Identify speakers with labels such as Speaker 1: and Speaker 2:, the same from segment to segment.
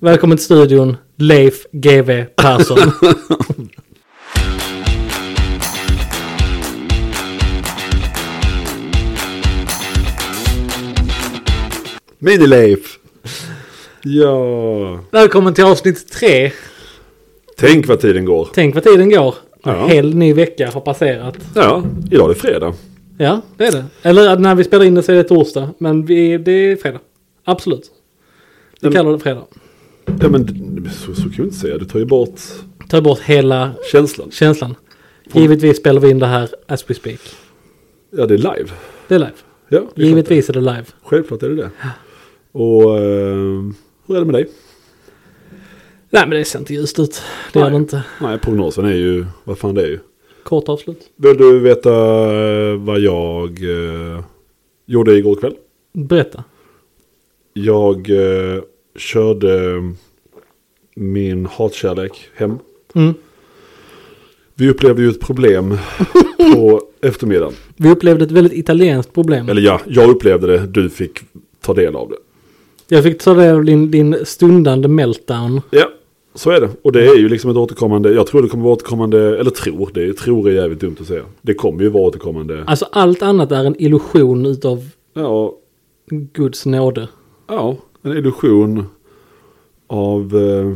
Speaker 1: Välkommen till studion, Leif GW Persson.
Speaker 2: Mini-Leif! Ja...
Speaker 1: Välkommen till avsnitt tre.
Speaker 2: Tänk vad tiden går.
Speaker 1: Tänk vad tiden går. En
Speaker 2: Ja.
Speaker 1: hel ny vecka har passerat.
Speaker 2: Ja, idag är det fredag.
Speaker 1: Ja, det är det. Eller när vi spelar in det så är det torsdag. Men vi, det är fredag. Absolut. Vi
Speaker 2: Men-
Speaker 1: kallar det fredag.
Speaker 2: Ja men d- så, så kan du inte säga. Du tar ju bort
Speaker 1: Ta bort hela
Speaker 2: känslan.
Speaker 1: känslan. Givetvis spelar vi in det här as we speak.
Speaker 2: Ja, det är live.
Speaker 1: Det är live.
Speaker 2: Ja, det är klart det.
Speaker 1: Givetvis är det live.
Speaker 2: Självklart är det det. Och eh, hur är det med dig?
Speaker 1: Nej men det ser inte ljust ut. Det gör
Speaker 2: Nej.
Speaker 1: det inte.
Speaker 2: Nej, prognosen är ju, vad fan det är ju.
Speaker 1: Kort avslut.
Speaker 2: Vill du veta eh, vad jag eh, gjorde igår kväll?
Speaker 1: Berätta.
Speaker 2: Jag eh, körde min hatkärlek hem.
Speaker 1: Mm.
Speaker 2: Vi upplevde ju ett problem på eftermiddagen.
Speaker 1: Vi upplevde ett väldigt italienskt problem.
Speaker 2: Mm. Eller ja, jag upplevde det, du fick ta del av det.
Speaker 1: Jag fick ta del av din, din stundande meltdown.
Speaker 2: Ja, så är det. Och det är ju liksom ett återkommande, jag tror det kommer vara återkommande, eller tror, det är, tror är jävligt dumt att säga. Det kommer ju vara återkommande.
Speaker 1: Alltså allt annat är en illusion utav
Speaker 2: Ja,
Speaker 1: Guds nåde.
Speaker 2: ja en illusion av eh,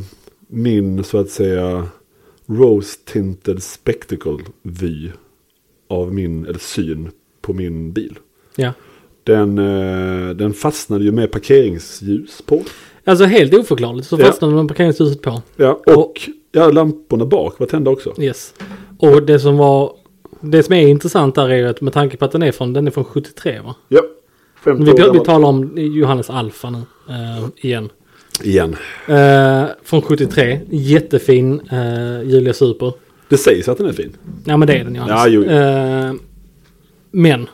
Speaker 2: min så att säga rose-tinted spectacle-vy av min, eller syn på min bil.
Speaker 1: Ja.
Speaker 2: Den, eh, den fastnade ju med parkeringsljus på.
Speaker 1: Alltså helt oförklarligt så
Speaker 2: Ja.
Speaker 1: fastnade man parkeringshuset på.
Speaker 2: Ja, och ja, lamporna bak var tända också.
Speaker 1: Yes. Och det som var... Det som är intressant där är ju att med tanke på att den är från, den är från 73 va?
Speaker 2: Ja. 15
Speaker 1: Vi,
Speaker 2: år
Speaker 1: vi
Speaker 2: gammal.
Speaker 1: talar om Johannes Alfa nu. eh, igen.
Speaker 2: Igen.
Speaker 1: Eh, från 73. Jättefin eh, Julia Super.
Speaker 2: Det sägs att den är fin.
Speaker 1: Ja men det är den Johannes.
Speaker 2: Ja, jo, jo.
Speaker 1: Eh, men.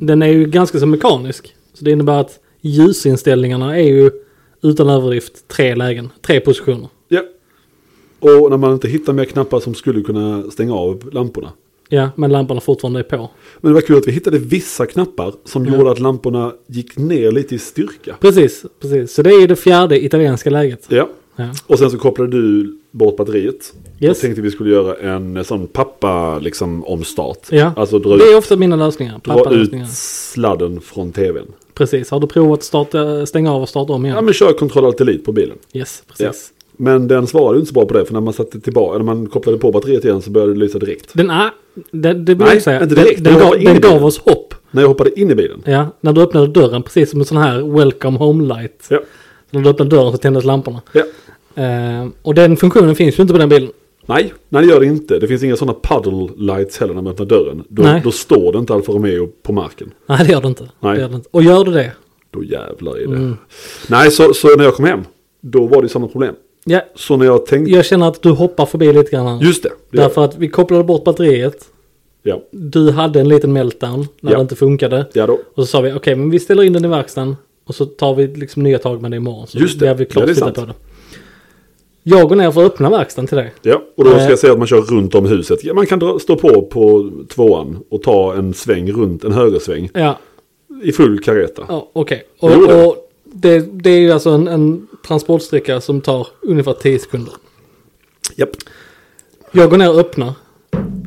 Speaker 1: Den är ju ganska så mekanisk. Så det innebär att ljusinställningarna är ju utan överdrift tre lägen. Tre positioner.
Speaker 2: Ja. Och när man inte hittar mer knappar som skulle kunna stänga av lamporna.
Speaker 1: Ja men lamporna fortfarande är på.
Speaker 2: Men det var kul att vi hittade vissa knappar som gjorde att lamporna gick ner lite i styrka.
Speaker 1: Precis, precis. Så det är ju det fjärde italienska läget.
Speaker 2: Ja.
Speaker 1: Ja.
Speaker 2: Och sen så kopplade du bort batteriet.
Speaker 1: Yes.
Speaker 2: Jag tänkte vi skulle göra en sån pappa liksom omstart.
Speaker 1: Ja.
Speaker 2: Alltså dra
Speaker 1: Det
Speaker 2: ut,
Speaker 1: är ofta mina lösningar.
Speaker 2: dra ut
Speaker 1: Pappalösningar.
Speaker 2: sladden från tvn.
Speaker 1: Precis. Har du provat att starta, stänga av och starta om igen?
Speaker 2: Ja men kör kontroll alt delete på bilen.
Speaker 1: Yes, precis.
Speaker 2: Men den svarade ju inte så bra på det för när man satte tillbaka, när man kopplade på batteriet igen så började det lysa direkt.
Speaker 1: Den är... Det, det vill
Speaker 2: Nej,
Speaker 1: jag säga.
Speaker 2: inte
Speaker 1: Den,
Speaker 2: direkt.
Speaker 1: den, gav,
Speaker 2: Den hoppar in
Speaker 1: den
Speaker 2: i bilen.
Speaker 1: gav oss hopp.
Speaker 2: När jag hoppade in i bilen.
Speaker 1: Ja, när du öppnade dörren, precis som en sån här welcome home light.
Speaker 2: Ja.
Speaker 1: När du öppnade dörren så tändes lamporna.
Speaker 2: ja.
Speaker 1: Eh, och den funktionen finns ju inte på den bilen.
Speaker 2: Nej, nej det gör det inte. Det finns inga sådana puddle lights heller när man öppnar dörren. Då,
Speaker 1: Nej.
Speaker 2: då står det inte Alfa Romeo på marken.
Speaker 1: Nej, det gör det inte.
Speaker 2: Nej.
Speaker 1: Det gör det inte. Och gör du det?
Speaker 2: Då jävlar i det.
Speaker 1: Mm.
Speaker 2: Nej, så, så när jag kom hem, då var det ju samma problem.
Speaker 1: Ja,
Speaker 2: Så när jag tänkte...
Speaker 1: jag känner att du hoppar förbi lite grann. här.
Speaker 2: Just det. det
Speaker 1: Därför att vi kopplade bort batteriet.
Speaker 2: ja.
Speaker 1: Du hade en liten meltdown när
Speaker 2: Ja.
Speaker 1: det inte funkade.
Speaker 2: ja, då.
Speaker 1: Och så sa vi okej, men vi ställer in den i verkstaden. Och så tar vi liksom nya tag med det imorgon. Så
Speaker 2: Just
Speaker 1: blir Vi
Speaker 2: det. Ja, det är
Speaker 1: klart ja,
Speaker 2: sant.
Speaker 1: på det. Jag går ner för att öppna verkstaden till dig.
Speaker 2: Ja, och då
Speaker 1: Nej.
Speaker 2: ska jag säga att man kör runt om huset. Ja, man kan dra, stå på på tvåan och ta en sväng runt, en högersväng
Speaker 1: Ja,
Speaker 2: i full kareta.
Speaker 1: ja okej.
Speaker 2: Jo
Speaker 1: Och,
Speaker 2: då.
Speaker 1: och det, det är ju alltså en, en transportsträcka som tar ungefär 10 sekunder.
Speaker 2: Japp.
Speaker 1: Jag går ner och öppnar.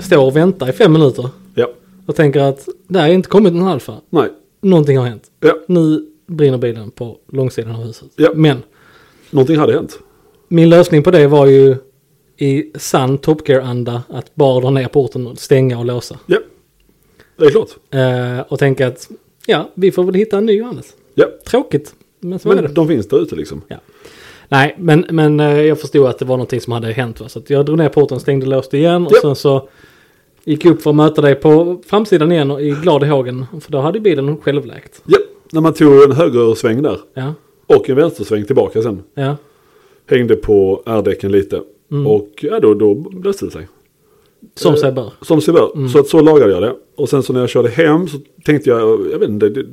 Speaker 1: Står och väntar i fem minuter.
Speaker 2: Ja.
Speaker 1: Och tänker att det här är inte kommit någon alfa.
Speaker 2: Nej.
Speaker 1: Någonting har hänt.
Speaker 2: Ja.
Speaker 1: Nu brinner bilen på långsidan av huset.
Speaker 2: Ja.
Speaker 1: Men
Speaker 2: Någonting hade hänt.
Speaker 1: min lösning på det var ju i sann Top Gear-anda att bara dra ner porten och stänga och låsa.
Speaker 2: Ja. Det är klart.
Speaker 1: Eh, och tänka att ja, vi får väl hitta en ny Johannes.
Speaker 2: Ja.
Speaker 1: Tråkigt, men så är det.
Speaker 2: Men de finns där ute liksom.
Speaker 1: Ja. Nej, men, men eh, jag förstod att det var någonting som hade hänt. Va? Så att jag drog ner porten, stängde och låste igen och
Speaker 2: Ja.
Speaker 1: sen så gick jag upp för att möta dig på framsidan igen och i glad i hågen. För då hade ju bilen självläkt.
Speaker 2: Ja. När man tog en högersväng där.
Speaker 1: Ja,
Speaker 2: Och en vänstersväng tillbaka sen.
Speaker 1: ja.
Speaker 2: Hängde på R-däcken lite. Och ja, då, då löste det sig.
Speaker 1: Som
Speaker 2: Eh,
Speaker 1: sig bör.
Speaker 2: Som sig bör. Så att så lagade jag det. Och sen så när jag körde hem så tänkte jag, jag vet inte, det,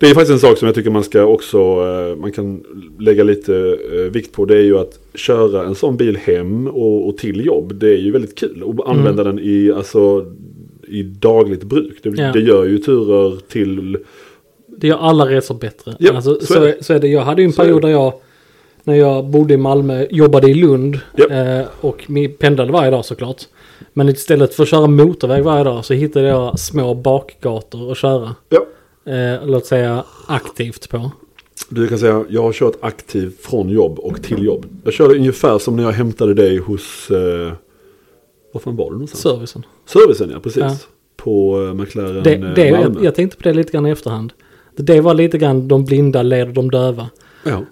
Speaker 2: det är faktiskt en sak som jag tycker man ska också, eh, man kan lägga lite eh, vikt på. Det är ju att köra en sån bil hem och, och till jobb. Det är ju väldigt kul. Och använda den i, alltså, i dagligt bruk. Det,
Speaker 1: Ja.
Speaker 2: det gör ju turer till,
Speaker 1: Det gör alla resor bättre.
Speaker 2: Ja,
Speaker 1: alltså,
Speaker 2: så
Speaker 1: så,
Speaker 2: är
Speaker 1: är
Speaker 2: det.
Speaker 1: så är det. Jag hade ju en
Speaker 2: Så är
Speaker 1: period
Speaker 2: det.
Speaker 1: där jag när jag bodde i Malmö, jobbade i Lund
Speaker 2: Japp.
Speaker 1: eh, och mi- pendlade varje dag såklart. Men istället för att köra motorväg varje dag så hittade jag små bakgator att köra.
Speaker 2: Ja.
Speaker 1: Eh, låt säga aktivt på.
Speaker 2: Du kan säga, jag har kört aktiv från jobb och till jobb. Jag körde ungefär som när jag hämtade dig hos, eh, var fan var du någonstans?
Speaker 1: Servicen.
Speaker 2: Servicen ja, precis.
Speaker 1: Ja.
Speaker 2: På eh, McLaren
Speaker 1: Det,
Speaker 2: eh,
Speaker 1: det,
Speaker 2: Malmö.
Speaker 1: jag, jag tänkte på det lite grann i efterhand. Det var lite grann de blinda leder de döva.
Speaker 2: Ja.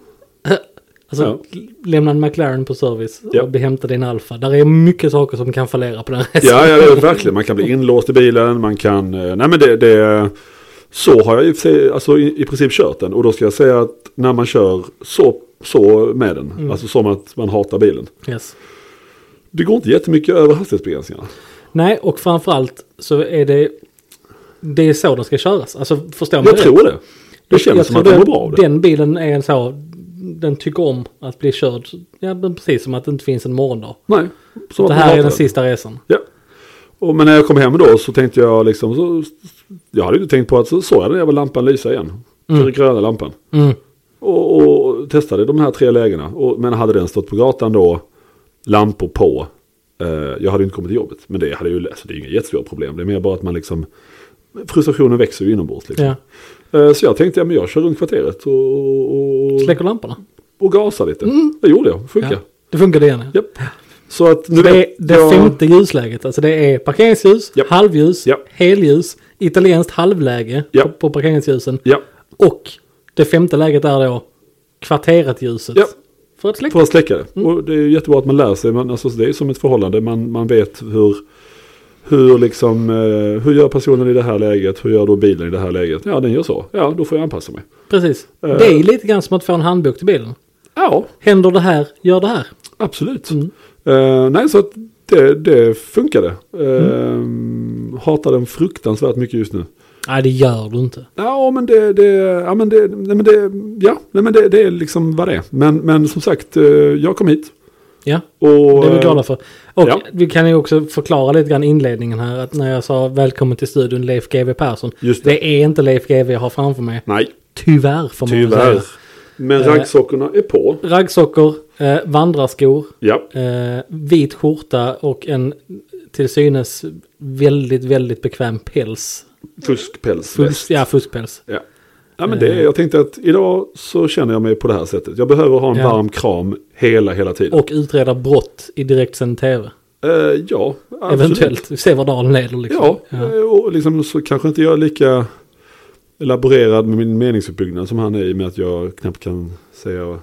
Speaker 1: Alltså, lämna en McLaren på service
Speaker 2: Ja.
Speaker 1: och bli hämtad i en Alfa. Där är mycket saker som kan fallera på den resan.
Speaker 2: Ja, ja, det är verkligen. Man kan bli inlåst i bilen, man kan... eh, Nej, men det... det så har jag i, och för sig, alltså, i, i princip kört den. Och då ska jag säga att när man kör så, så med den,
Speaker 1: Mm.
Speaker 2: alltså som att man hatar bilen.
Speaker 1: Yes.
Speaker 2: Det går inte jättemycket över hastighetsbegränsningarna.
Speaker 1: Nej, och framförallt så är det... Det är så den ska köras. Alltså, förstår man
Speaker 2: Jag
Speaker 1: det?
Speaker 2: tror det. Det
Speaker 1: Jag-
Speaker 2: känns
Speaker 1: jag
Speaker 2: som
Speaker 1: tror
Speaker 2: att det
Speaker 1: den-
Speaker 2: mår bra av det.
Speaker 1: Den bilen är en så... Den tycker om att bli körd. Ja, men precis som att det inte finns en morgondag.
Speaker 2: Nej, som
Speaker 1: det
Speaker 2: att man
Speaker 1: här är
Speaker 2: hatar
Speaker 1: den sista resan.
Speaker 2: Ja. Och, men när jag kom hem då så tänkte jag liksom, så, jag hade inte tänkt på att så såg jag den jävla lampan lysa igen. Den gröna lampan.
Speaker 1: Mm.
Speaker 2: Och, och testade de här tre lägena. Och, men hade den stått på gatan då, lampor på, eh, jag hade inte kommit till jobbet. Men det, hade ju, alltså, det är ju inga jättestora problem, det är mer bara att man liksom, frustrationen växer ju inombords. Liksom.
Speaker 1: Ja.
Speaker 2: Eh, så jag tänkte, ja, men jag kör runt kvarteret och, och,
Speaker 1: Släcker lamporna.
Speaker 2: och gasar lite. Det gjorde jag, funkar.
Speaker 1: Mm. Ja. Det funkar det igen. ja.
Speaker 2: Japp. Så att nu
Speaker 1: Så det är
Speaker 2: vet
Speaker 1: det
Speaker 2: jag-
Speaker 1: femte ljusläget. Alltså det är parkeringsljus,
Speaker 2: Japp.
Speaker 1: halvljus,
Speaker 2: Japp.
Speaker 1: helljus, italienskt halvläge
Speaker 2: Japp.
Speaker 1: på, på parkeringsljusen.
Speaker 2: Ja,
Speaker 1: Och det femte läget är då kvarteret-ljuset.
Speaker 2: Japp.
Speaker 1: För att släcka.
Speaker 2: För att släcka det.
Speaker 1: Mm.
Speaker 2: Och det är ju jättebra att man lär sig. Man, alltså, det är som ett förhållande. Man, man vet hur, hur, liksom, eh, hur gör personen i det här läget? Hur gör då bilen i det här läget? Ja, den gör så. Ja, då får jag anpassa mig.
Speaker 1: Precis.
Speaker 2: Eh.
Speaker 1: Det är lite grann som att få en handbok till bilen.
Speaker 2: Ja,
Speaker 1: Händer det här, gör det här.
Speaker 2: absolut.
Speaker 1: Mm.
Speaker 2: Eh, nej, så att det, det funkade. Uh,
Speaker 1: Mm.
Speaker 2: Hatar den fruktansvärt mycket just nu.
Speaker 1: Nej, det gör du inte.
Speaker 2: Ja, men det, det, ja, men det, nej, men det, ja, nej, men det, det är liksom vad det är. Men, men som sagt, eh, jag kom hit.
Speaker 1: Ja,
Speaker 2: Och, eh,
Speaker 1: det är vi glada för. Och
Speaker 2: ja.
Speaker 1: vi kan ju också förklara lite grann inledningen här. Att när jag sa välkommen till studion Leif GW Persson.
Speaker 2: Just det.
Speaker 1: Det är inte Leif GW jag har framför mig.
Speaker 2: Nej,
Speaker 1: Tyvärr får man väl
Speaker 2: tyvärr.
Speaker 1: säga.
Speaker 2: Men
Speaker 1: Mm. Eh.
Speaker 2: raggsockorna är på.
Speaker 1: Raggsockor, eh, vandrarskor,
Speaker 2: Ja,
Speaker 1: eh, vit skjorta och en till synes väldigt, väldigt bekväm päls.
Speaker 2: fuskpälsväst.
Speaker 1: Fusk, ja, fuskpäls.
Speaker 2: Ja. ja, men det är, jag tänkte att idag så känner jag mig på det här sättet. Jag behöver ha en
Speaker 1: Ja.
Speaker 2: varm kram hela, hela tiden.
Speaker 1: Och utreda brott i direktsänd tv.
Speaker 2: Eh, ja, absolut.
Speaker 1: Eventuellt. Vi ser vad dagen leder liksom.
Speaker 2: Ja, eh, och liksom så kanske inte jag är lika laborerad med min meningsuppbyggnad som han är i och med att jag knappt kan säga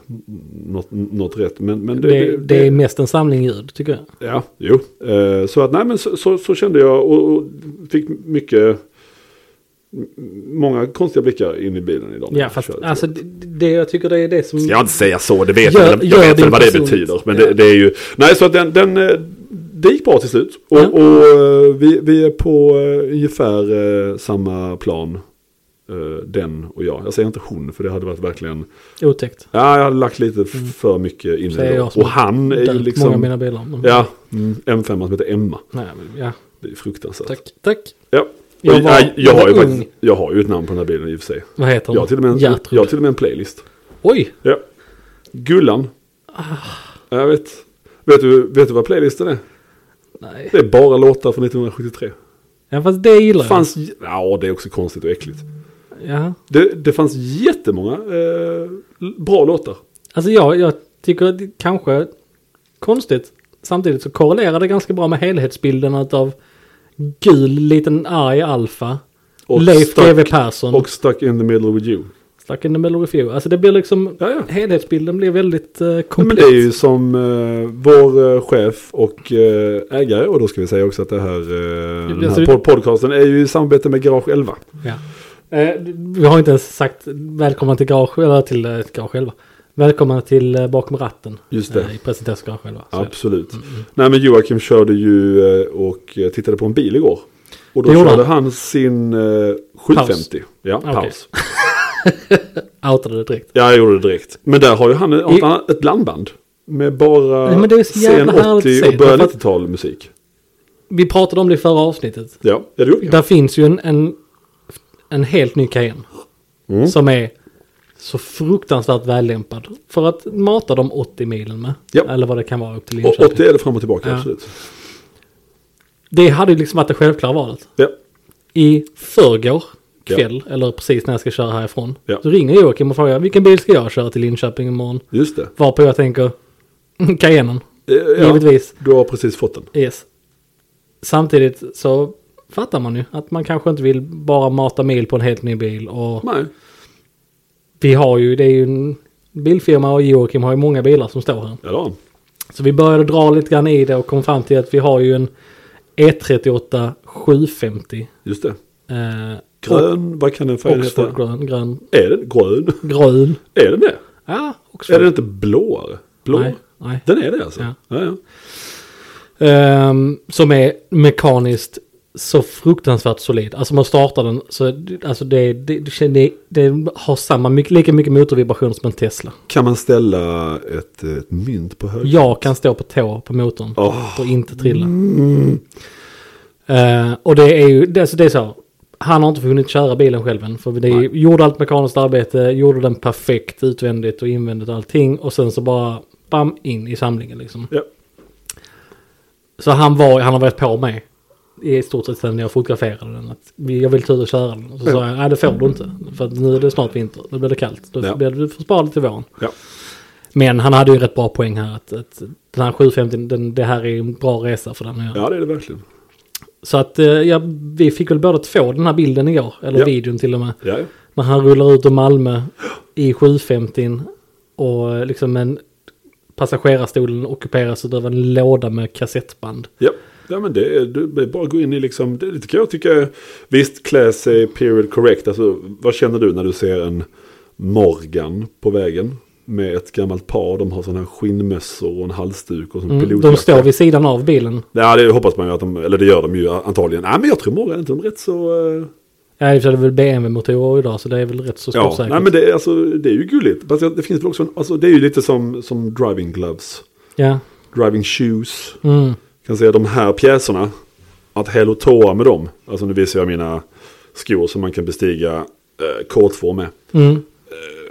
Speaker 2: något, något rätt. Men, men det,
Speaker 1: Det, det, är mest en samling ljud tycker jag.
Speaker 2: Ja, jo. Eh, så att nej men så, så, så kände jag och, och fick mycket, m- många konstiga blickar in i bilen idag.
Speaker 1: Ja, fast alltså det, det jag tycker det är det som...
Speaker 2: Ska jag inte säga så, det vet
Speaker 1: Gör-
Speaker 2: jag, väl- jag
Speaker 1: gör
Speaker 2: vet väl
Speaker 1: din
Speaker 2: vad det
Speaker 1: person.
Speaker 2: betyder. Men
Speaker 1: Ja.
Speaker 2: det, det är ju, nej så att den, den eh, det gick bra till slut. Och,
Speaker 1: Ja.
Speaker 2: och eh, vi, vi är på eh, ungefär eh, samma plan. eh, Den och jag. Jag säger inte hon för det hade varit verkligen.
Speaker 1: Otäckt.
Speaker 2: Ja, jag hade lagt lite f- för mycket in i
Speaker 1: Mm. Säger
Speaker 2: det.
Speaker 1: jag som
Speaker 2: Och han är ju
Speaker 1: Döpt Många av
Speaker 2: liksom.
Speaker 1: mina bilar. Men,
Speaker 2: Ja, mm, M5 som heter Emma.
Speaker 1: Nej, men, ja.
Speaker 2: Det är fruktansvärt.
Speaker 1: Tack, tack.
Speaker 2: Ja.
Speaker 1: Jag
Speaker 2: Jag,
Speaker 1: var-
Speaker 2: jag, jag,
Speaker 1: jag
Speaker 2: har
Speaker 1: var
Speaker 2: ju
Speaker 1: ung.
Speaker 2: faktiskt, jag har ju ett namn på den här bilen i och för sig.
Speaker 1: Vad heter hon?
Speaker 2: Jag har till och med en, jag
Speaker 1: Gertrud.
Speaker 2: har till och med en playlist.
Speaker 1: Oj!
Speaker 2: Ja. Gullan.
Speaker 1: Ah.
Speaker 2: Jag vet. Vet du, vet du vad playlisten är?
Speaker 1: Nej.
Speaker 2: Det är bara låtar från 1973.
Speaker 1: Ja, fast det gillar jag.
Speaker 2: Fanns, ja, det är också konstigt och äckligt.
Speaker 1: Ja.
Speaker 2: Det, det fanns jättemånga eh, bra låtar.
Speaker 1: Alltså jag, jag tycker att det kanske är konstigt. Samtidigt så korrelerar det ganska bra med helhetsbilden av gul liten arg alfa.
Speaker 2: Och
Speaker 1: Leif
Speaker 2: stack-
Speaker 1: GW Persson.
Speaker 2: Och Stuck in the middle with you.
Speaker 1: Stuck in the middle with you. Alltså det blir liksom,
Speaker 2: Ja, ja.
Speaker 1: helhetsbilden blir väldigt eh,
Speaker 2: Men
Speaker 1: komplett.
Speaker 2: det är ju som eh, vår eh, chef och eh, ägare, och då ska vi säga också att det här, eh, den
Speaker 1: Alltså-
Speaker 2: här pod- podcasten är ju i samarbete med Garage 11.
Speaker 1: ja. eh, vi har inte ens sagt välkomna till garage, eller till eh, garage själva. Välkomna till eh, bakom ratten.
Speaker 2: Just det.
Speaker 1: Eh, i presenteras garage själva. Så Mm, är det.
Speaker 2: Absolut. Nej men Joakim körde ju eh, och eh, tittade på en bil igår. Och då
Speaker 1: Det gjorde
Speaker 2: körde han sin eh, 750. Ja,
Speaker 1: Okej.
Speaker 2: paus.
Speaker 1: Outade det direkt.
Speaker 2: Ja, jag gjorde det direkt. Men där har ju han, har
Speaker 1: I-
Speaker 2: han ett blandband. Med bara
Speaker 1: Nej, men det är så jävla
Speaker 2: sen
Speaker 1: härligt att
Speaker 2: 80
Speaker 1: se.
Speaker 2: och början
Speaker 1: Därför att-
Speaker 2: 90-tal musik.
Speaker 1: Vi pratade om det i förra avsnittet.
Speaker 2: Ja, ja det gjorde vi. Mm.
Speaker 1: Där finns ju en, en, en helt ny Cayenne. Som är så fruktansvärt vällämpad för att mata de 80 milen med.
Speaker 2: Ja.
Speaker 1: Eller vad det kan vara upp till
Speaker 2: Och
Speaker 1: Linköping.
Speaker 2: 80 är det fram och tillbaka,
Speaker 1: Ja.
Speaker 2: absolut.
Speaker 1: Det hade ju liksom varit det självklara valet.
Speaker 2: Ja.
Speaker 1: I förrgår kväll, eller precis när jag ska köra härifrån,
Speaker 2: Ja.
Speaker 1: så ringer Joakim och frågar vilken bil ska jag köra till Linköping imorgon?
Speaker 2: Just det.
Speaker 1: Varpå jag tänker "Mm, Cayennen,
Speaker 2: Eh, Ja,
Speaker 1: givetvis.
Speaker 2: du har precis fått den.
Speaker 1: Yes. Samtidigt så fattar man ju att man kanske inte vill bara mata mil på en helt ny bil. Och
Speaker 2: Nej.
Speaker 1: vi har ju, det är ju en bilfirma och Joakim har ju många bilar som står här.
Speaker 2: Ja, det har han.
Speaker 1: Så vi började dra lite grann i det och kom fram till att vi har ju en E38 750.
Speaker 2: Just det.
Speaker 1: Eh,
Speaker 2: Grön, vad kan den färgen
Speaker 1: Oxford
Speaker 2: heta?
Speaker 1: grön, grön,
Speaker 2: Är den grön?
Speaker 1: grön.
Speaker 2: Är den det?
Speaker 1: Ja,
Speaker 2: Är
Speaker 1: Oxford.
Speaker 2: den inte blåare? Blå?
Speaker 1: Nej, nej.
Speaker 2: Den är det alltså?
Speaker 1: Ja.
Speaker 2: Ja, ja.
Speaker 1: Ehm, som är mekaniskt så fruktansvärt solid. Alltså man startar den så alltså det, det, det, det, det har samma, mycket- lika mycket motorvibration som en Tesla.
Speaker 2: Kan man ställa ett, eh, ett mynt på höger?
Speaker 1: Jag kan stå på tå på motorn
Speaker 2: Åh. Mm.
Speaker 1: och inte trilla. Eh, och det är ju, det, alltså det är så. Han har inte hunnit köra bilen själv än. För det är, ju- gjorde allt mekaniskt arbete, gjorde den perfekt utvändigt och invändigt och allting. Och sen så bara bam in i samlingen liksom.
Speaker 2: Ja.
Speaker 1: Så han, var, han har varit på mig i stort sett sedan jag fotograferade den. Att vi- jag vill tur och köra den. Och så
Speaker 2: Ja.
Speaker 1: sa jag, nej det får du inte. För att nu är det snart vinter, nu blir det kallt. Då
Speaker 2: Ja.
Speaker 1: blir det, du får spara det till våren.
Speaker 2: Ja.
Speaker 1: Men han hade ju rätt bra poäng här. Att, att den här 750, den, det här är en bra resa för den. att göra.
Speaker 2: ja, det är det verkligen.
Speaker 1: Så att eh, ja, vi fick väl båda två den här bilden igår. Eller
Speaker 2: Ja.
Speaker 1: videon till och med.
Speaker 2: Ja, ja.
Speaker 1: När han rullar ut ur Malmö i 750 och eh, liksom en passagerarstolen ockuperas av en låda med kassettband.
Speaker 2: Ja. Ja men det är, du är bara att gå in i liksom, det, det kan jag tycka, visst klä sig period correct, alltså vad känner du när du ser en Morgan på vägen med ett gammalt par, de har sådana här skinnmössor och en halsduk och sån
Speaker 1: Mm,
Speaker 2: pilotjacka.
Speaker 1: de står vid sidan av bilen.
Speaker 2: Ja det hoppas man ju att de, eller det gör de ju antagligen. Nej men jag tror Morgan är inte de rätt så... eh,
Speaker 1: Ja, i och för sig är det väl BMW-motorer idag så det är väl rätt så
Speaker 2: Ja,
Speaker 1: skottsäkert.
Speaker 2: nej men det, är- alltså, det är ju gulligt. Fast det finns väl också en, alltså, det är ju lite som, som driving gloves,
Speaker 1: Ja.
Speaker 2: driving shoes.
Speaker 1: Mm.
Speaker 2: kan säga de här pjäserna, att hell och tåa med dem. Alltså nu visar jag mina skor som man kan bestiga eh, kortform med.
Speaker 1: Mm.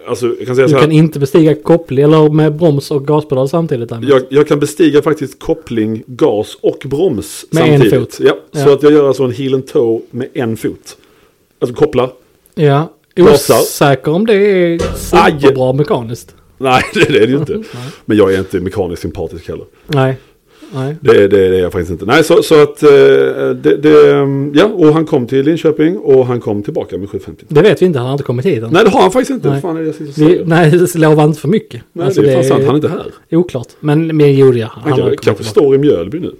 Speaker 2: Alltså jag kan säga så
Speaker 1: Du
Speaker 2: här,
Speaker 1: kan inte bestiga koppling eller med broms och gaspedal samtidigt. däremot.
Speaker 2: jag, jag kan bestiga faktiskt koppling, gas och broms
Speaker 1: Med en
Speaker 2: samtidigt.
Speaker 1: fot.
Speaker 2: Ja, Så
Speaker 1: Ja.
Speaker 2: att jag gör alltså en heel and toe med en fot. Alltså koppla.
Speaker 1: Ja,
Speaker 2: Krossar.
Speaker 1: osäker om det är superbra mekaniskt.
Speaker 2: Nej, det är det ju inte. Men jag är inte mekaniskt sympatisk heller.
Speaker 1: Nej. Nej.
Speaker 2: Det, det, det är jag faktiskt inte. Nej, så, så att eh, det, det, mm, ja, och han kom till Linköping och han kom tillbaka med 750.
Speaker 1: Det vet vi inte, han har inte kommit hit än.
Speaker 2: Nej, det har han faktiskt inte.
Speaker 1: Nej.
Speaker 2: Vad fan är det jag sitter och
Speaker 1: Vi,
Speaker 2: säger?
Speaker 1: nej, lova inte för mycket.
Speaker 2: Nej,
Speaker 1: Alltså,
Speaker 2: det är fan sant. Han är inte här.
Speaker 1: är oklart. Men, men jo, ja, han,
Speaker 2: Han,
Speaker 1: har
Speaker 2: kan,
Speaker 1: kommit
Speaker 2: kanske
Speaker 1: tillbaka.
Speaker 2: står i Mjölby nu.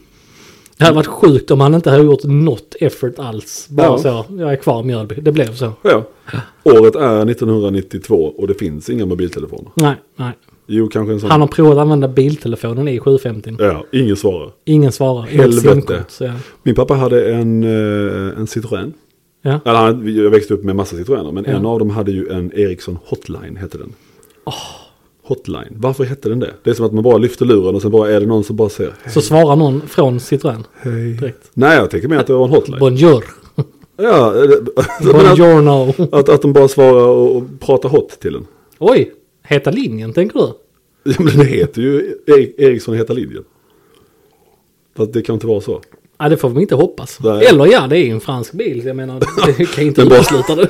Speaker 1: Det hade varit sjukt om han inte hade gjort något effort alls. Bara
Speaker 2: Ja.
Speaker 1: så, jag är kvar i Mjölby. Det blev så.
Speaker 2: Ja. Året är 1992 och det finns inga mobiltelefoner.
Speaker 1: Nej, nej.
Speaker 2: Jo, kanske en sån.
Speaker 1: Han har provat att använda biltelefonen i 750.
Speaker 2: Ja, ingen svarar.
Speaker 1: Ingen svarar. Inget
Speaker 2: Helvete.
Speaker 1: simkort, så ja.
Speaker 2: Min pappa hade en, eh, en Citroën.
Speaker 1: Ja.
Speaker 2: Eller han, jag växte upp med massa Citroëner, men
Speaker 1: Ja.
Speaker 2: en av dem hade ju en Ericsson Hotline, hette den. Hotline, varför hette den det? Det är som att man bara lyfter luren och sen bara är det någon som bara säger
Speaker 1: Så svarar någon från Citroën.
Speaker 2: hej.
Speaker 1: Direkt.
Speaker 2: Nej, jag tänker mer att det var en hotline.
Speaker 1: Bonjour.
Speaker 2: Ja, men att,
Speaker 1: Bonjourno.
Speaker 2: att, att de bara svarar och, och pratar hot till en.
Speaker 1: Oj, heta linjen tänker du?
Speaker 2: Ja, men det heter ju Erik, Eriksson heta linjen. Fast det kan inte vara så.
Speaker 1: Ja, det får vi inte hoppas.
Speaker 2: Nej.
Speaker 1: Eller ja, det är ju en fransk bil. Jag menar, det kan ju inte
Speaker 2: Men bara-
Speaker 1: utesluta det.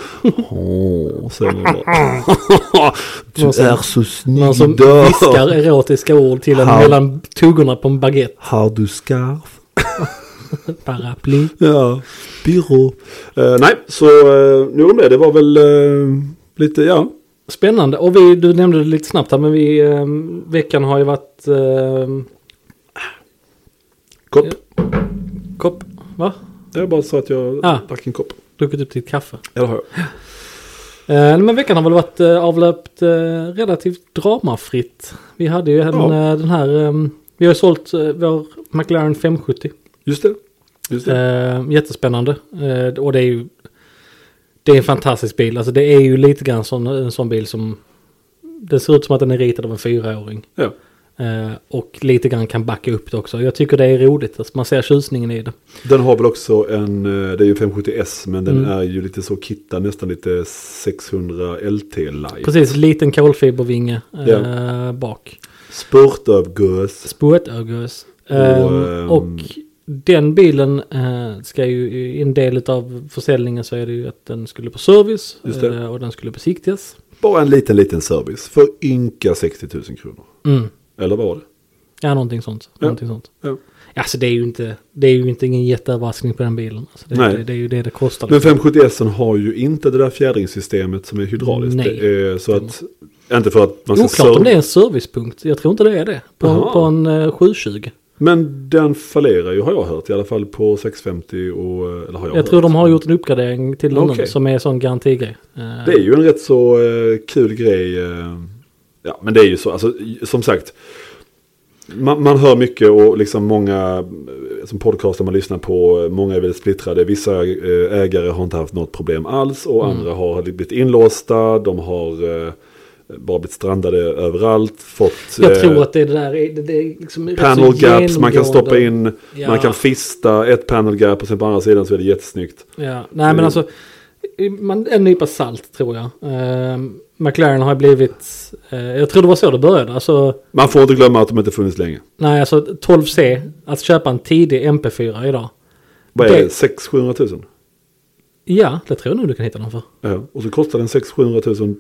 Speaker 2: Åh, säger man bara. du
Speaker 1: Någon som-
Speaker 2: är så
Speaker 1: Någon som
Speaker 2: snygg. dör.
Speaker 1: viskar erotiska ord till en
Speaker 2: Ja.
Speaker 1: mellan tuggorna på en baguette.
Speaker 2: Har du skarf?
Speaker 1: Paraply.
Speaker 2: Ja, byrå. Eh, nej, så uh, nu om det. Det var väl eh, lite, ja.
Speaker 1: Spännande. Och vi, du nämnde det lite snabbt här, men vi, ehm, veckan har ju varit... ehm,
Speaker 2: Kopp.
Speaker 1: kopp. Va?
Speaker 2: Jag bara sa att jag
Speaker 1: Ah.
Speaker 2: drack en kopp.
Speaker 1: Druckit upp ditt kaffe.
Speaker 2: Eller har
Speaker 1: Eh, nej, men veckan har väl varit eh, avlöpt eh, relativt dramafritt. Vi hade ju en,
Speaker 2: Ja.
Speaker 1: eh, den här... ehm, vi har ju sålt eh, vår McLaren 570.
Speaker 2: Just det. Just det.
Speaker 1: Eh, jättespännande. Eh, och det är ju... Det är en fantastisk bil. Alltså det är ju lite grann sån, en sån bil som... Den ser ut som att den är ritad av en fyraåring.
Speaker 2: ja.
Speaker 1: Eh, och lite grann kan backa upp det också. Jag tycker det är roligt, alltså man ser tjusningen i det.
Speaker 2: Den har väl också en, eh, det är ju 570S men den
Speaker 1: Mm.
Speaker 2: är ju lite så kittad, nästan lite 600 LT light.
Speaker 1: Precis, liten kolfibervinge eh, bak.
Speaker 2: Spurtövgös.
Speaker 1: Spåtögus.
Speaker 2: ehm,
Speaker 1: och den bilen eh, ska ju i en del av försäljningen så är det ju att den skulle på service
Speaker 2: Just det.
Speaker 1: eh, och den skulle besiktigas.
Speaker 2: Bara en liten, liten service för ynka 60 000 kronor.
Speaker 1: Mm.
Speaker 2: Eller vad var det?
Speaker 1: Ja, någonting sånt.
Speaker 2: Ja.
Speaker 1: Någonting sånt.
Speaker 2: Ja.
Speaker 1: Alltså det är ju inte, det är ju inte ingen jätteöverraskning på den bilen. Alltså, det,
Speaker 2: Nej.
Speaker 1: Det, det är ju det det kostar. liksom.
Speaker 2: Men 570S -en har ju inte det där fjädringssystemet som är hydrauliskt.
Speaker 1: Nej.
Speaker 2: Det är, så att, inte för att man ska
Speaker 1: Oklart om
Speaker 2: serv-
Speaker 1: det är en servicepunkt. Jag tror inte det är det. På,
Speaker 2: Jaha.
Speaker 1: på en eh, 720.
Speaker 2: Men den fallerar ju har jag hört i alla fall på 650 och... eh, Eller har jag,
Speaker 1: Jag
Speaker 2: hört.
Speaker 1: tror de har gjort en uppgradering till den
Speaker 2: Okej.
Speaker 1: som är en sån garantigrej. Eh,
Speaker 2: Det är ju en rätt så eh, kul grej. Eh, ja, men det är ju så, alltså, som sagt. Man, man hör mycket och liksom många eh, som podcaster man lyssnar på, eh, många är väldigt splittrade. Vissa eh, ägare har inte haft något problem alls och
Speaker 1: Mm.
Speaker 2: andra har blivit inlåsta, de har eh, bara blivit strandade överallt, fått
Speaker 1: Jag
Speaker 2: eh,
Speaker 1: tror att det där är, det, det är liksom rätt så
Speaker 2: panel gaps, man kan stoppa
Speaker 1: genomgående.
Speaker 2: in,
Speaker 1: Ja.
Speaker 2: man kan fista ett panel gap och sen på andra sidan så är det jättesnyggt.
Speaker 1: Ja. Nej men alltså, man, en nypa salt tror jag. Eh, McLaren har blivit, eh, jag tror det var så det började. Alltså,
Speaker 2: Man får inte glömma att de inte funnits länge.
Speaker 1: nej alltså 12C, att köpa en tidig MP4 idag.
Speaker 2: Vad är
Speaker 1: Det-
Speaker 2: det? 600-700 000?
Speaker 1: Ja, det tror jag nog du kan hitta den för.
Speaker 2: Ja, Eh, och så kostar den 600-700 000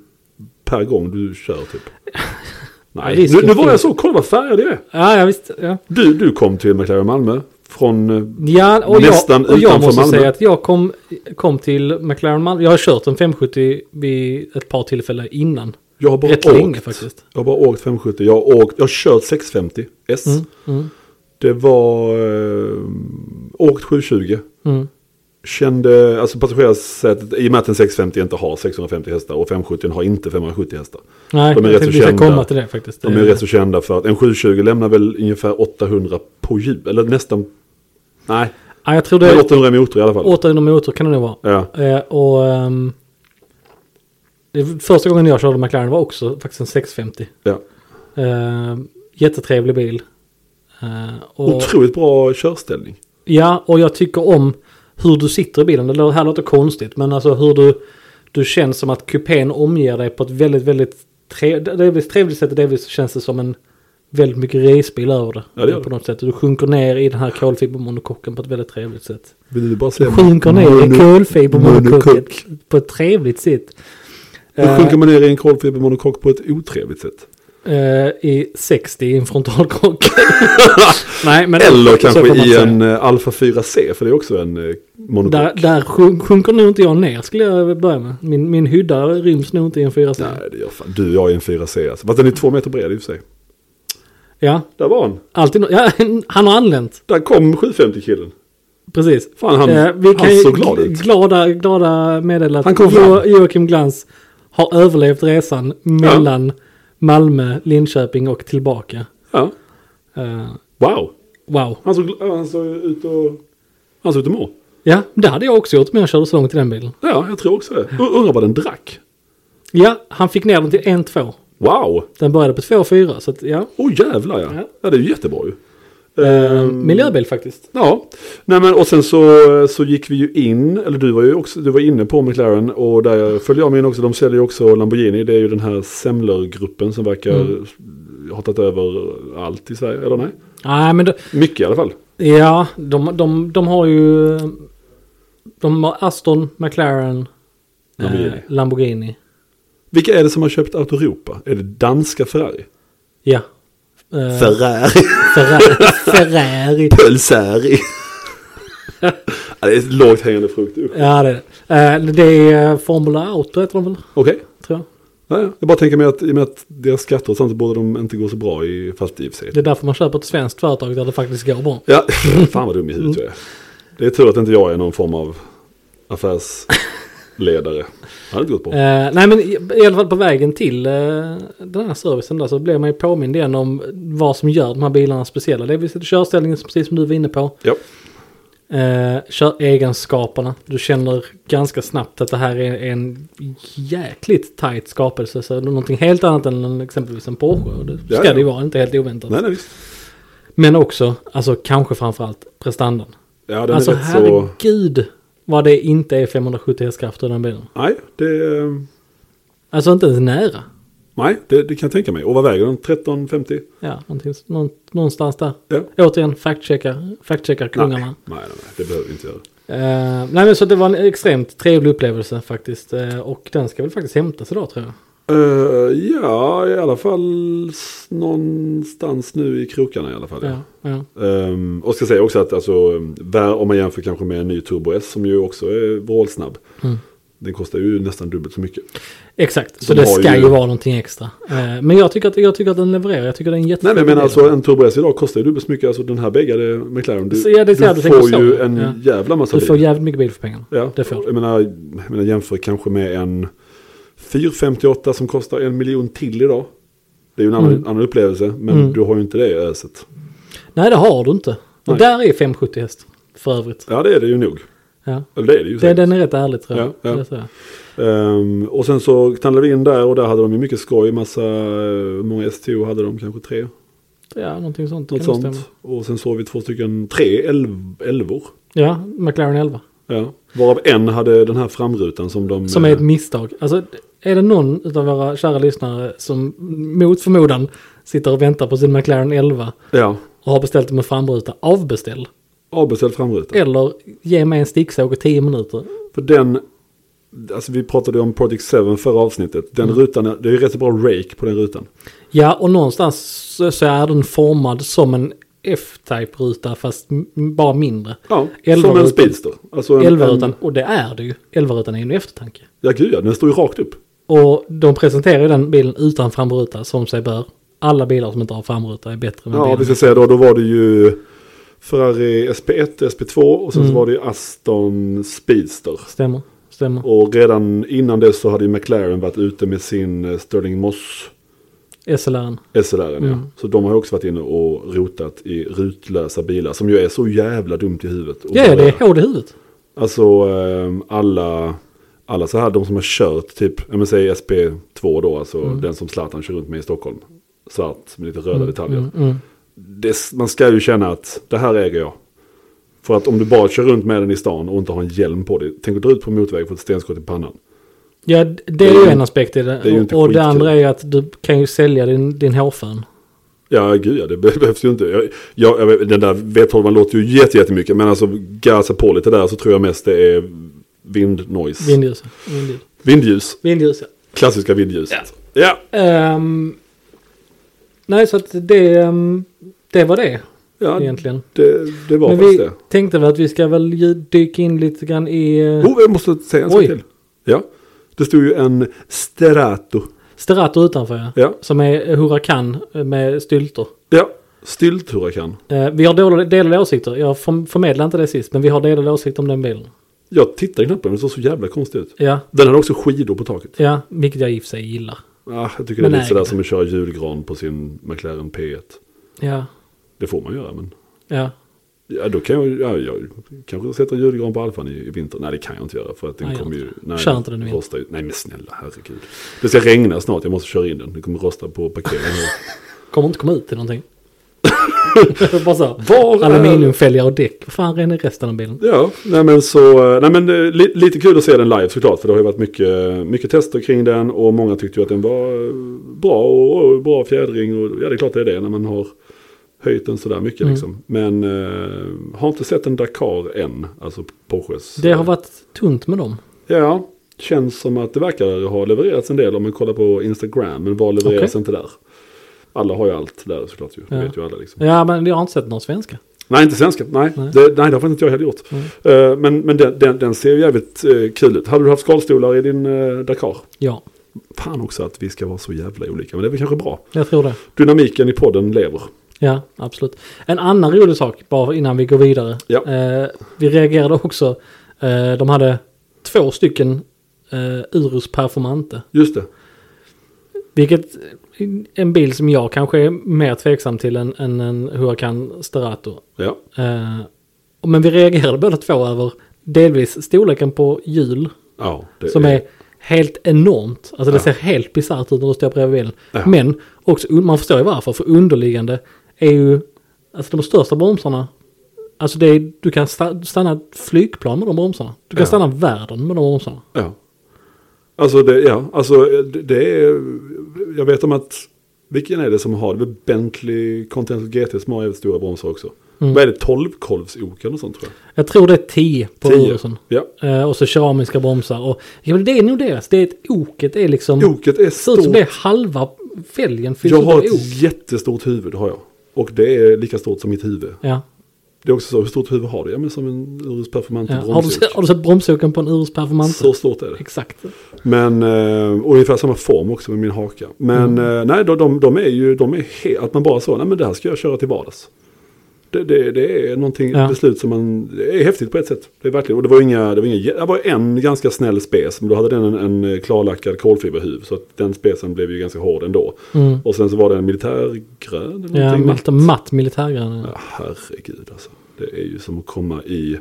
Speaker 2: per gång du kör typ. Nej,
Speaker 1: Risken
Speaker 2: nu, nu var jag
Speaker 1: finns.
Speaker 2: så, kolla vad färgad jag är.
Speaker 1: Ja, ja visst. Ja.
Speaker 2: Du, du kom till McLaren Malmö från... eh,
Speaker 1: Ja, och
Speaker 2: Nästan
Speaker 1: jag, och jag
Speaker 2: utanför
Speaker 1: måste
Speaker 2: Malmö.
Speaker 1: säga att jag kom, kom till McLaren Malmö. Jag har kört en 570 vid ett par tillfällen innan.
Speaker 2: Jag har bara
Speaker 1: Rätt
Speaker 2: åkt.
Speaker 1: länge faktiskt.
Speaker 2: Jag har bara åkt 570. Jag har, åkt, jag har kört 650 S.
Speaker 1: mm.
Speaker 2: Det var... Eh, åkt 720.
Speaker 1: Mm.
Speaker 2: Kände, alltså passagerarsätet, i och med att en 650 inte har 650 hästar och 570 har inte 570 hästar.
Speaker 1: Nej,
Speaker 2: De är
Speaker 1: jag
Speaker 2: rätt
Speaker 1: tänkte
Speaker 2: så
Speaker 1: vi ska
Speaker 2: kända.
Speaker 1: komma till det faktiskt.
Speaker 2: De är ju rätt så kända för att en 720 lämnar väl ungefär 800 på hjul, eller nästan... Nej,
Speaker 1: ja, jag tror det
Speaker 2: men
Speaker 1: är
Speaker 2: 800 i motor i alla fall.
Speaker 1: 800 motor kan det nog vara.
Speaker 2: Ja.
Speaker 1: Eh, och ehm, det är första gången jag körde McLaren var också faktiskt en 650.
Speaker 2: Ja.
Speaker 1: Eh, jättetrevlig bil. Eh, och,
Speaker 2: Otroligt bra körställning.
Speaker 1: ja, och jag tycker om hur du sitter i bilen. Det lå- här låter konstigt, men alltså hur du, du känns som att kupén omger dig på ett väldigt, väldigt trev, delvis trevligt sätt. och Delvis så känns det som en väldigt mycket racebil över det.
Speaker 2: Ja, det gör det.
Speaker 1: på något sätt. Du sjunker ner i den här kolfibermonokocken på ett väldigt trevligt sätt.
Speaker 2: Vill du bara se
Speaker 1: Sjunker ner i
Speaker 2: Mono-
Speaker 1: kolfibermonokocken
Speaker 2: monokock.
Speaker 1: på ett trevligt sätt.
Speaker 2: Då sjunker man ner i en kolfibermonokock på ett otrevligt sätt.
Speaker 1: Eh, eh, I 60 i en frontalkrock. Nej, men
Speaker 2: Eller
Speaker 1: så får man
Speaker 2: kanske i
Speaker 1: säga.
Speaker 2: en eh, Alfa 4C, för det är också en eh, monokock.
Speaker 1: Där, där sjunk- sjunker nog inte jag ner skulle jag börja med. Min, min hydda ryms nog inte i en 4
Speaker 2: Nej, det gör fan. Du och jag är en 4C alltså. Fast den är två meter bred i och för sig.
Speaker 1: Ja,
Speaker 2: Där var han.
Speaker 1: alltid no- ja, han har anlänt.
Speaker 2: Där kom 750-killen.
Speaker 1: Precis.
Speaker 2: Fan, han,
Speaker 1: Eh, vi kan
Speaker 2: han
Speaker 1: ju
Speaker 2: såg glad ut.
Speaker 1: Glada, glada meddela
Speaker 2: Han
Speaker 1: att
Speaker 2: kom
Speaker 1: jo,
Speaker 2: fram.
Speaker 1: Joakim Glans har överlevt resan mellan Malmö, Linköping och tillbaka.
Speaker 2: Ja.
Speaker 1: Eh,
Speaker 2: Wow.
Speaker 1: wow.
Speaker 2: Han såg, han såg ut att... Han såg ut att må.
Speaker 1: Ja, det hade jag också gjort men jag körde så långt i den bilen.
Speaker 2: Ja, jag tror också det. U- Undrar vad den drack.
Speaker 1: Ja, han fick ner den till 1-2.
Speaker 2: Wow!
Speaker 1: Den började på 2-4 så att ja.
Speaker 2: Åh oh, jävlar ja.
Speaker 1: Ja.
Speaker 2: ja. det är ju jättebra ju. Ehm,
Speaker 1: Miljöbil faktiskt.
Speaker 2: Ja, nej men och sen så, så gick vi ju in, eller du var ju också, du var inne på McLaren och där följde jag med in också, de säljer ju också Lamborghini, det är ju den här Semler-gruppen som verkar ha tagit över allt i Sverige, eller nej?
Speaker 1: Nej, men det,
Speaker 2: Mycket i alla fall.
Speaker 1: Ja, de, de, de har ju... De har Aston, McLaren,
Speaker 2: Lamborghini.
Speaker 1: Eh, Lamborghini.
Speaker 2: Vilka är det som har köpt Autoropa? Är det danska Ferrari?
Speaker 1: Ja. Eh,
Speaker 2: Ferrari,
Speaker 1: Ferrari. Ferrari.
Speaker 2: Pölsari. ja, det är ett lågt hängande frukt. usch.
Speaker 1: Ja, det är det. Eh, det. är Formula Auto heter de väl,
Speaker 2: Okej.
Speaker 1: tror jag.
Speaker 2: Ja, ja. Jag bara tänker mig att i och med att deras skatter och sånt så borde de inte gå så bra i, fast i och för sig.
Speaker 1: Det är därför man köper ett svenskt företag där det faktiskt går bra.
Speaker 2: Ja, fan vad dum i huvudet jag är. Det är tur att inte jag är någon form av affärsledare. Det hade inte gått bra.
Speaker 1: Eh, nej men i, i alla fall på vägen till eh, den här servicen där så blev man ju påmind igen om vad som gör de här bilarna speciella. Det vill säga körställningen precis som du var inne på.
Speaker 2: Ja.
Speaker 1: Eh, kör egenskaperna. Du känner ganska snabbt att det här är en jäkligt tight skapelse. Så någonting helt annat än en- exempelvis en Porsche. Och Det ska
Speaker 2: Ja, ja.
Speaker 1: det ju vara, inte helt oväntat.
Speaker 2: Nej, nej, visst.
Speaker 1: Men också, alltså kanske framförallt prestandan.
Speaker 2: Ja, den
Speaker 1: alltså
Speaker 2: är rätt så...
Speaker 1: herregud vad det inte är 570 hästkrafter i den bilen.
Speaker 2: Nej, det, eh,
Speaker 1: Alltså inte ens nära.
Speaker 2: nej det, det kan jag tänka mig. Och vad väger den? 13,50?
Speaker 1: Ja, någonting, någon, någonstans där.
Speaker 2: Ja.
Speaker 1: Återigen, fact-checkar, fact-checkar
Speaker 2: Nej,
Speaker 1: kungarna.
Speaker 2: nej, nej, nej, det behöver vi inte göra.
Speaker 1: Eh, nej men så det var en extremt trevlig upplevelse faktiskt. Eh, och den ska väl faktiskt hämtas idag tror jag.
Speaker 2: Eh, ja, i alla fall s- någonstans nu i krokarna i alla fall. Ja.
Speaker 1: Ja, ja.
Speaker 2: Ehm, och ska säga också att alltså, vär, om man jämför kanske med en ny Turbo S som ju också är vrålsnabb.
Speaker 1: Mm.
Speaker 2: Den kostar ju nästan dubbelt så mycket.
Speaker 1: Exakt, så
Speaker 2: De
Speaker 1: det
Speaker 2: har
Speaker 1: ska
Speaker 2: ju-
Speaker 1: ju vara någonting extra. Eh, men jag tycker, att, jag tycker att den levererar, jag tycker att den är en
Speaker 2: Nej
Speaker 1: jättefin
Speaker 2: men jag menar
Speaker 1: bil.
Speaker 2: alltså en Turbo S idag kostar ju dubbelt så mycket. Alltså den här bägare McLaren. Du,
Speaker 1: Så, ja, det är så jag
Speaker 2: du
Speaker 1: tänker
Speaker 2: får
Speaker 1: så.
Speaker 2: ju en
Speaker 1: Ja.
Speaker 2: jävla massa
Speaker 1: Du får
Speaker 2: bil.
Speaker 1: jävligt mycket bil för pengarna.
Speaker 2: Ja,
Speaker 1: det får du.
Speaker 2: jag menar, jag menar jämför kanske med en 458 som kostar en miljon till idag. Det är ju en annan,
Speaker 1: Mm.
Speaker 2: annan upplevelse. Men
Speaker 1: Mm.
Speaker 2: du har ju inte det öset.
Speaker 1: Nej det har du inte.
Speaker 2: Nej.
Speaker 1: Och där är 570 häst för övrigt.
Speaker 2: Ja det är det ju nog.
Speaker 1: Ja.
Speaker 2: Eller det är det ju
Speaker 1: Det,
Speaker 2: säkert.
Speaker 1: den är rätt ärlig tror jag.
Speaker 2: Ja, ja.
Speaker 1: Det tror jag.
Speaker 2: Ehm, och sen så knallade vi in där och där hade de ju mycket skoj. Massa, eh, många STO hade de kanske tre.
Speaker 1: Ja, någonting sånt.
Speaker 2: Något
Speaker 1: kan nog
Speaker 2: sånt.
Speaker 1: stämma.
Speaker 2: Och sen såg vi två stycken, tre elv, elvor.
Speaker 1: Ja, McLaren 11.
Speaker 2: Ja. Varav en hade den här framrutan som de...
Speaker 1: Som är ett
Speaker 2: eh,
Speaker 1: misstag. Alltså, är det någon av våra kära lyssnare som mot förmodan sitter och väntar på sin McLaren 11
Speaker 2: eh, Ja,
Speaker 1: och har beställt med framruta, avbeställ.
Speaker 2: avbeställd framruta.
Speaker 1: Eller ge mig en sticksåg i 10 minuter.
Speaker 2: För den, alltså vi pratade ju om Project 7 förra avsnittet. Den
Speaker 1: Mm.
Speaker 2: rutan, är- det är ju rätt så bra rake på den rutan.
Speaker 1: Ja, och någonstans så, så är den formad som en F-Type-ruta fast m- bara mindre.
Speaker 2: Ja, som en
Speaker 1: Elvarutan.
Speaker 2: speedster. Alltså en,
Speaker 1: Elvarutan,
Speaker 2: en,
Speaker 1: och det är det ju. Elvarutan är ju en eftertanke.
Speaker 2: ja gud ja, den står ju rakt upp.
Speaker 1: Och de presenterar ju den bilen utan framruta som sig bör. Alla bilar som inte har framruta är bättre än den
Speaker 2: Ja,
Speaker 1: bilen.
Speaker 2: vi ska säga då, då var det ju Ferrari SP1, SP2 och sen
Speaker 1: Mm.
Speaker 2: så var det ju Aston Speedster.
Speaker 1: Stämmer, stämmer.
Speaker 2: Och redan innan det så hade ju McLaren varit ute med sin eh, Sterling Moss
Speaker 1: SLR.
Speaker 2: SLR.
Speaker 1: Mm.
Speaker 2: Ja. Så de har ju också varit inne och rotat i rutlösa bilar som ju är så jävla dumt i huvudet. att
Speaker 1: Ja, ja, det
Speaker 2: börja.
Speaker 1: är hård i huvudet.
Speaker 2: Alltså ehm, alla, alla så här, de som har kört typ, ja men säg SP2 då, alltså
Speaker 1: Mm.
Speaker 2: den som Zlatan kör runt med i Stockholm. Svart med lite röda detaljer.
Speaker 1: mm,
Speaker 2: Det, man ska ju känna att det här äger jag. För att om du bara kör runt med den i stan och inte har en hjälm på dig, tänk att dra ut på motorväg och få ett stenskott i pannan.
Speaker 1: Ja, d- det är ju en aspekt i det.
Speaker 2: det är ju inte typ.
Speaker 1: och och
Speaker 2: skitkul.
Speaker 1: det andra är att du kan ju sälja din, din hårfön.
Speaker 2: Ja, gud ja, det be- behövs ju inte. Jag, jag, jag, vet- den där V12 låter ju jätte- jättemycket, men alltså gasa på lite där så tror jag mest det är vindnoise.
Speaker 1: Vindljus. Vindljus,
Speaker 2: Vindljus,
Speaker 1: Vindljus ja.
Speaker 2: klassiska vindljuset. Ja,
Speaker 1: Ehm, nej, så att det, ehm, det var det
Speaker 2: ja,
Speaker 1: egentligen.
Speaker 2: Det, det var
Speaker 1: Men
Speaker 2: faktiskt
Speaker 1: vi
Speaker 2: det.
Speaker 1: tänkte väl att vi ska väl ju dyka in lite grann i eh,
Speaker 2: Oh, jag måste säga en sak
Speaker 1: Oj.
Speaker 2: till. Ja. Det stod ju en Sterato.
Speaker 1: Sterato utanför ja.
Speaker 2: Ja.
Speaker 1: Som är Huracan eh, med styltor.
Speaker 2: Ja. Stylthuracan.
Speaker 1: Eh, vi har dåliga- delade åsikter. Jag förm- förmedlade inte det sist, men vi har delade åsikter om den bilen.
Speaker 2: Jag tittade knappt på den, den såg så jävla konstig ut.
Speaker 1: Ja,
Speaker 2: Den hade också skidor på taket.
Speaker 1: ja vilket jag i och för sig gillar.
Speaker 2: Ah, jag tycker
Speaker 1: Men
Speaker 2: det
Speaker 1: nej.
Speaker 2: är lite sådär som att köra julgran på sin McLaren P1.
Speaker 1: Ja,
Speaker 2: Det får man göra, men...
Speaker 1: ja.
Speaker 2: Ja, då kan jag, ja, jag kanske sätter en julgran på Alfan i, i vinter. Nej, det kan jag inte göra för att den
Speaker 1: Nej,
Speaker 2: kommer
Speaker 1: gör
Speaker 2: ju...
Speaker 1: inte det.
Speaker 2: Nej,
Speaker 1: Kör inte den i vinter.
Speaker 2: rostar ju- Nej, men snälla herregud. Det ska regna snart, jag måste köra in den. Det kommer rosta på parkeringen.
Speaker 1: Kommer inte komma ut till någonting. Bara så.
Speaker 2: Var är-
Speaker 1: Aluminiumfälgar och däck. Vad fan är det resten av bilen?
Speaker 2: Ja, nej men så, eh, nej men eh, li, lite kul att se den live såklart. För det har ju varit mycket, mycket tester kring den och många tyckte ju att den var eh, bra och, och bra fjädring. Och, ja, det är klart det är det när man har höjt den sådär
Speaker 1: Mm.
Speaker 2: mycket liksom. Men eh, har inte sett en Dakar än, alltså Porsches.
Speaker 1: Det har varit tunt med dem.
Speaker 2: Ja, känns som att det verkar ha levererats en del om man kollar på Instagram. Men vad levereras inte där? Alla har ju allt där såklart ju. Det
Speaker 1: Ja.
Speaker 2: vet ju alla liksom.
Speaker 1: Ja, men jag har inte sett några svenska.
Speaker 2: Nej, inte svenska. Nej,
Speaker 1: Nej.
Speaker 2: Det, nej det har faktiskt inte jag heller gjort. Eh, men men den, den, den ser ju jävligt eh, kul ut. Hade du haft skalstolar i din eh, Dakar?
Speaker 1: Ja,
Speaker 2: Fan också att vi ska vara så jävla olika, men det är väl kanske bra.
Speaker 1: jag tror det.
Speaker 2: Dynamiken i podden lever.
Speaker 1: Ja, absolut. En annan rolig sak, bara innan vi går vidare.
Speaker 2: Ja.
Speaker 1: Eh, vi reagerade också. Eh, de hade två stycken eh, Urus Performante.
Speaker 2: Just det.
Speaker 1: Vilket eh, en bil som jag kanske är mer tveksam till än, än en Huracan Sterato.
Speaker 2: Ja.
Speaker 1: Eh, Men vi reagerade båda två över delvis storleken på hjul
Speaker 2: Ja, det
Speaker 1: som är helt enormt. Alltså det
Speaker 2: Ja.
Speaker 1: ser helt bisarrt ut när du står bredvid bilen.
Speaker 2: Ja.
Speaker 1: Men också, un- man förstår ju varför, för underliggande är ju alltså de största bromsarna. Alltså det är, du kan sta- stanna ett flygplan med de bromsarna. Du kan
Speaker 2: Ja.
Speaker 1: stanna världen med de bromsarna.
Speaker 2: Ja. Alltså det, ja, alltså det, det är, jag vet om att, vilken är det som har, det är väl Bentley Continental GT som har jävligt stora bromsar också.
Speaker 1: Mm.
Speaker 2: Vad är det, 12 kolvsok eller något sånt tror jag?
Speaker 1: Jag tror det är 10 på
Speaker 2: 10.
Speaker 1: rörelsen.
Speaker 2: Ja.
Speaker 1: Eh, och så keramiska bromsar. Och, ja, men det är nog deras. Det är ett oket är liksom...
Speaker 2: Oket är
Speaker 1: det ser ut som
Speaker 2: stort.
Speaker 1: det är halva fälgen fylls
Speaker 2: Jag
Speaker 1: ut
Speaker 2: har
Speaker 1: av
Speaker 2: ett
Speaker 1: ok.
Speaker 2: jättestort huvud har jag. Och det är lika stort som mitt huvud.
Speaker 1: Ja.
Speaker 2: Det är också så, hur stort huvud har du? Ja men som en Urus Performante
Speaker 1: Ja. Har, du,
Speaker 2: bromsok.
Speaker 1: sett- har du sett bromsoken på en Urus Performante?
Speaker 2: Så stort är det.
Speaker 1: Exakt.
Speaker 2: Men, eh, och ungefär samma form också med min haka. Men
Speaker 1: Mm.
Speaker 2: eh, nej, de, de, de är ju, de är helt, att man bara så, nej men det här ska jag köra till vardags. Det, det, det är någonting,
Speaker 1: Ja.
Speaker 2: ett beslut som man, det är häftigt på ett sätt. Det är verkligen, och det var inga, det var inga, det var en ganska snäll spes, men då hade den en, en klarlackad kolfiberhuv. Så att den spesen blev ju ganska hård ändå.
Speaker 1: Mm.
Speaker 2: Och sen så var det en militärgrön eller
Speaker 1: Ja,
Speaker 2: någonting.
Speaker 1: matt, matt militärgrön.
Speaker 2: Ja, herregud alltså. Det är ju som att komma i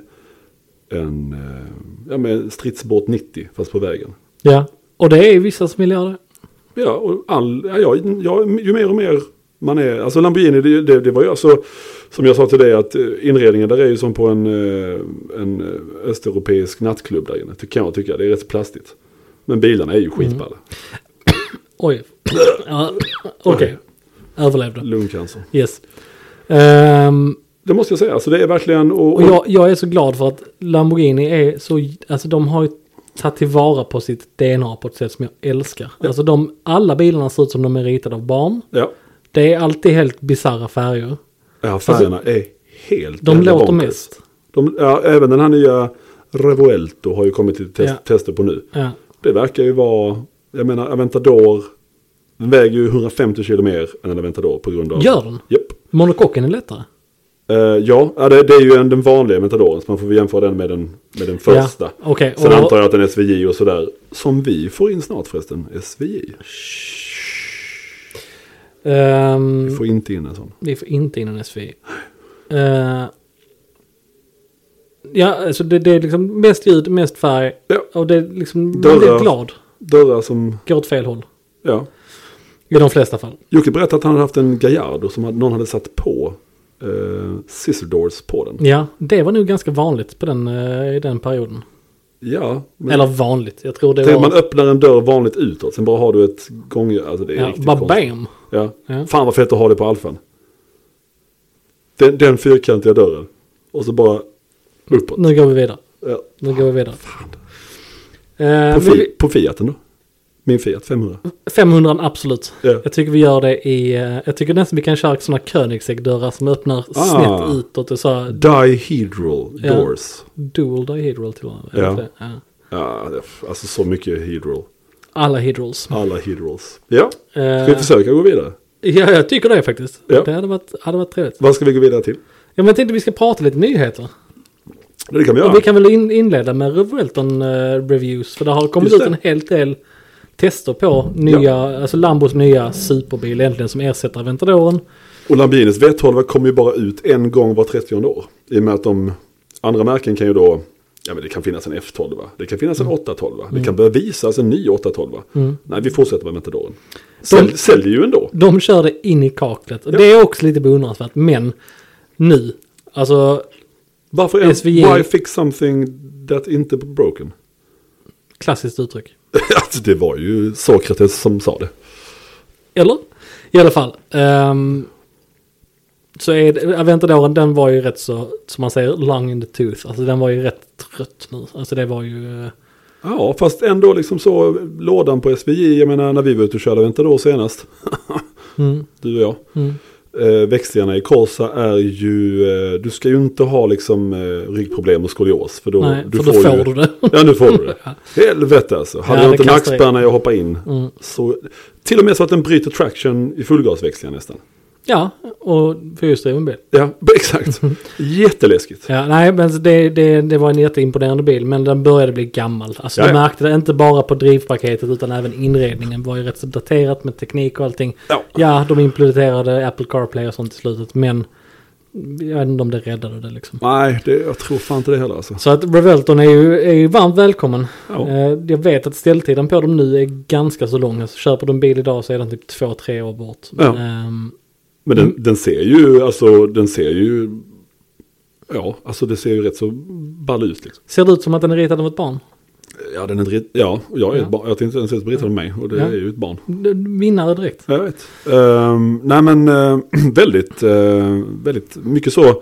Speaker 2: en, eh, ja men stridsbåt 90, fast på vägen.
Speaker 1: Ja, och det är vissa som vill göra det.
Speaker 2: Ja, och all, ja, ja, ja, ju mer och mer man är, alltså Lamborghini, det, det, det var ju alltså, som jag sa till dig, att eh, inredningen där är ju som på en, eh, en eh, östeuropeisk nattklubb där inne, ty- kan jag tycka, det är rätt plastigt. Men bilarna är ju
Speaker 1: Mm.
Speaker 2: skitballa.
Speaker 1: Oj. ja, Okej, överlevde.
Speaker 2: Lungcancer.
Speaker 1: Yes. Ehm,
Speaker 2: Det måste jag säga, alltså det är verkligen, och,
Speaker 1: och jag, jag är så glad för att Lamborghini är så, alltså de har ju tagit tillvara på sitt DNA på ett sätt som jag älskar. Alltså de, alla bilarna ser ut som de är ritade av barn.
Speaker 2: ja,
Speaker 1: Det är alltid helt bisarra färger.
Speaker 2: ja färgerna är helt
Speaker 1: Alltså, De
Speaker 2: jävla
Speaker 1: låter
Speaker 2: bonkers.
Speaker 1: mest.
Speaker 2: De, ja, även den här nya Revuelto har ju kommit till test,
Speaker 1: Ja.
Speaker 2: tester på nu.
Speaker 1: Ja.
Speaker 2: Det verkar ju vara, jag menar Aventador, den väger ju 150 kilo mer än en Aventador på grund av...
Speaker 1: Gör den?
Speaker 2: Japp.
Speaker 1: Monokocken är lättare.
Speaker 2: Eh, ja, ja, det, det är ju en, den vanliga Aventadoren, så man får väl jämföra den med den, med den första.
Speaker 1: Ja, okej.
Speaker 2: Sen
Speaker 1: Och-
Speaker 2: antar jag att en SVJ och sådär, som vi får in snart förresten, SVJ.
Speaker 1: Ehm,
Speaker 2: Vi får inte in en sån.
Speaker 1: Vi får inte in en SVI. Eh, ja, alltså det, det är liksom mest ljud, mest färg.
Speaker 2: Ja.
Speaker 1: Och det är liksom, man
Speaker 2: Dörrar.
Speaker 1: blir glad.
Speaker 2: Dörrar som,
Speaker 1: Går åt fel håll.
Speaker 2: ja.
Speaker 1: I de flesta fall.
Speaker 2: Jocke berättade att han hade haft en Gallardo som hade, någon hade satt på eh, scissor doors på den.
Speaker 1: Ja, det var nog ganska vanligt på den, eh, i den perioden.
Speaker 2: Ja, men
Speaker 1: Eller vanligt, jag tror det
Speaker 2: tänk om
Speaker 1: var...
Speaker 2: Mm. man öppnar en dörr vanligt utåt, sen bara har du ett gång, alltså det är
Speaker 1: ja,
Speaker 2: riktigt
Speaker 1: bara
Speaker 2: konstigt.
Speaker 1: bam!
Speaker 2: Ja.
Speaker 1: Ja.
Speaker 2: Fan vad fett att ha det på alfan. Den, den fyrkantiga dörren. Och så bara uppåt.
Speaker 1: Nu går vi vidare.
Speaker 2: Ja.
Speaker 1: Nu går vi
Speaker 2: Ah,
Speaker 1: vidare.
Speaker 2: På,
Speaker 1: Eh, men
Speaker 2: fi,
Speaker 1: vi,
Speaker 2: på Fiaten då? Min Fiat 500.
Speaker 1: 500 absolut.
Speaker 2: Ja.
Speaker 1: Jag tycker vi gör det i... eh, jag tycker nästan vi kan köra sådana Koenigsegg-dörrar som öppnar
Speaker 2: Ah.
Speaker 1: snett utåt och så
Speaker 2: Dihedral
Speaker 1: Ja.
Speaker 2: doors.
Speaker 1: dual dihedral till varandra.
Speaker 2: Ja.
Speaker 1: Eller, ja.
Speaker 2: Ja, det- alltså så mycket hedral.
Speaker 1: Alla hedrals.
Speaker 2: Alla hedrals. Ja, ska vi
Speaker 1: Eh,
Speaker 2: försöka gå vidare?
Speaker 1: ja, jag tycker det faktiskt.
Speaker 2: Ja.
Speaker 1: Det hade varit, hade varit trevligt.
Speaker 2: Vad ska vi gå vidare till?
Speaker 1: Ja, men jag tänkte vi ska prata lite nyheter.
Speaker 2: Det kan vi göra.
Speaker 1: Och vi kan väl in, inleda med Revuelton eh, Reviews. För det har kommit
Speaker 2: Just
Speaker 1: ut
Speaker 2: det.
Speaker 1: en hel del tester på nya, alltså Lambos nya superbil egentligen som ersätter Aventadoren.
Speaker 2: Och Lamborghinis V12 kommer ju bara ut en gång var 30 år. I och med att de andra märken kan ju då, ja men det kan finnas en F12, va? det kan finnas en 812, va? det kan börja visas en ny 812. va? Nej, vi fortsätter med Metadoren. Sälj,
Speaker 1: De-
Speaker 2: Säljer ju ändå.
Speaker 1: De körde in i kaklet. Och
Speaker 2: Ja.
Speaker 1: det är också lite beundransvärt. Men nu, alltså
Speaker 2: Varför är
Speaker 1: SVJ?
Speaker 2: Why fix something that inte broken?
Speaker 1: klassiskt uttryck.
Speaker 2: alltså det var ju Sokrates som sa det.
Speaker 1: Eller? I alla fall. ehm, så är det, Aventadoren den var ju rätt så, som man säger, long in the tooth. Alltså den var ju rätt trött nu. Alltså det var ju... eh,
Speaker 2: Ja, fast ändå liksom så, lådan på SVJ, jag menar när vi var ute och körde Aventador senast,
Speaker 1: Mm,
Speaker 2: du och jag.
Speaker 1: mm.
Speaker 2: eh, växtlingarna i Corsa är ju, eh, du ska ju inte ha liksom eh, ryggproblem och skolios. För då,
Speaker 1: Nej,
Speaker 2: du
Speaker 1: för då får
Speaker 2: ju,
Speaker 1: du det.
Speaker 2: Ja, nu får du det. Helvete alltså. Hade
Speaker 1: Ja,
Speaker 2: jag
Speaker 1: det
Speaker 2: inte
Speaker 1: kastar
Speaker 2: nackspärr när jag hoppade in.
Speaker 1: Mm.
Speaker 2: Så, till och med så att den bryter traction i fullgasväxlingar nästan.
Speaker 1: Ja, och fyrhjulsdriven bil.
Speaker 2: Ja, exakt.
Speaker 1: Mm.
Speaker 2: Jätteläskigt.
Speaker 1: Ja, nej, men det, det, det var en jätteimponerande bil, men den började bli gammal. Alltså
Speaker 2: Ja,
Speaker 1: du
Speaker 2: ja.
Speaker 1: märkte det inte bara på drivpaketet utan även inredningen var ju rätt så daterat med teknik och allting.
Speaker 2: Ja.
Speaker 1: Ja, de implementerade Apple CarPlay och sånt i slutet, men jag vet inte om det räddade det liksom.
Speaker 2: Nej, det, jag tror fan inte det heller alltså.
Speaker 1: Så att Revelton är ju, är ju varmt välkommen.
Speaker 2: Ja.
Speaker 1: Eh, jag vet att ställtiden på dem nu är ganska så lång. Alltså, köper du en bil idag så är den typ två, tre år bort.
Speaker 2: Ja.
Speaker 1: Men, ehm,
Speaker 2: Men den, den ser ju, alltså den ser ju, ja, alltså det ser ju rätt så ball ut liksom.
Speaker 1: ser det ut som att den är ritad av ett barn?
Speaker 2: Ja, den är inte, rit- ja, och jag är
Speaker 1: Ja.
Speaker 2: ett barn, jag tänkte ens ens berätta om mig och det
Speaker 1: Ja.
Speaker 2: är ju ett barn.
Speaker 1: D- Vinnare direkt.
Speaker 2: Jag vet. Ehm, nej men eh, väldigt, eh, väldigt mycket så.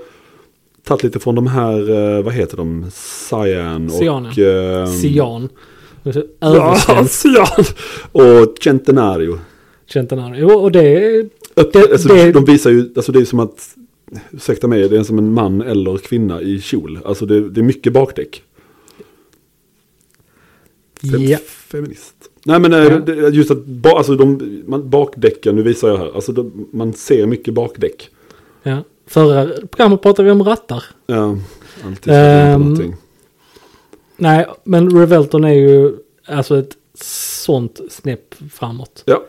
Speaker 2: Tagit lite från de här, eh, vad heter de, Cyan
Speaker 1: Cyan,
Speaker 2: och... ehm,
Speaker 1: Sian.
Speaker 2: Ja,
Speaker 1: Översvenskt
Speaker 2: Cyan! Och Centenario.
Speaker 1: Centenario. Jo, Och det är...
Speaker 2: Öppet, alltså,
Speaker 1: det-
Speaker 2: De visar ju, alltså det är som att, ursäkta mig, det är som en man eller kvinna i kjol. Alltså det, det är mycket bakdäck. Fem,
Speaker 1: Ja.
Speaker 2: Feminist. Nej men eh,
Speaker 1: Ja.
Speaker 2: det- just att ba, alltså de, man, bakdäcken, nu visar jag här, alltså de, man ser mycket bakdäck.
Speaker 1: ja. Förra programmet pratade vi om rattar.
Speaker 2: Ja, Ehm, alltid så är det
Speaker 1: Ehm,
Speaker 2: inte någonting.
Speaker 1: Nej, men Revelton är ju alltså ett sånt snäpp framåt.
Speaker 2: Ja,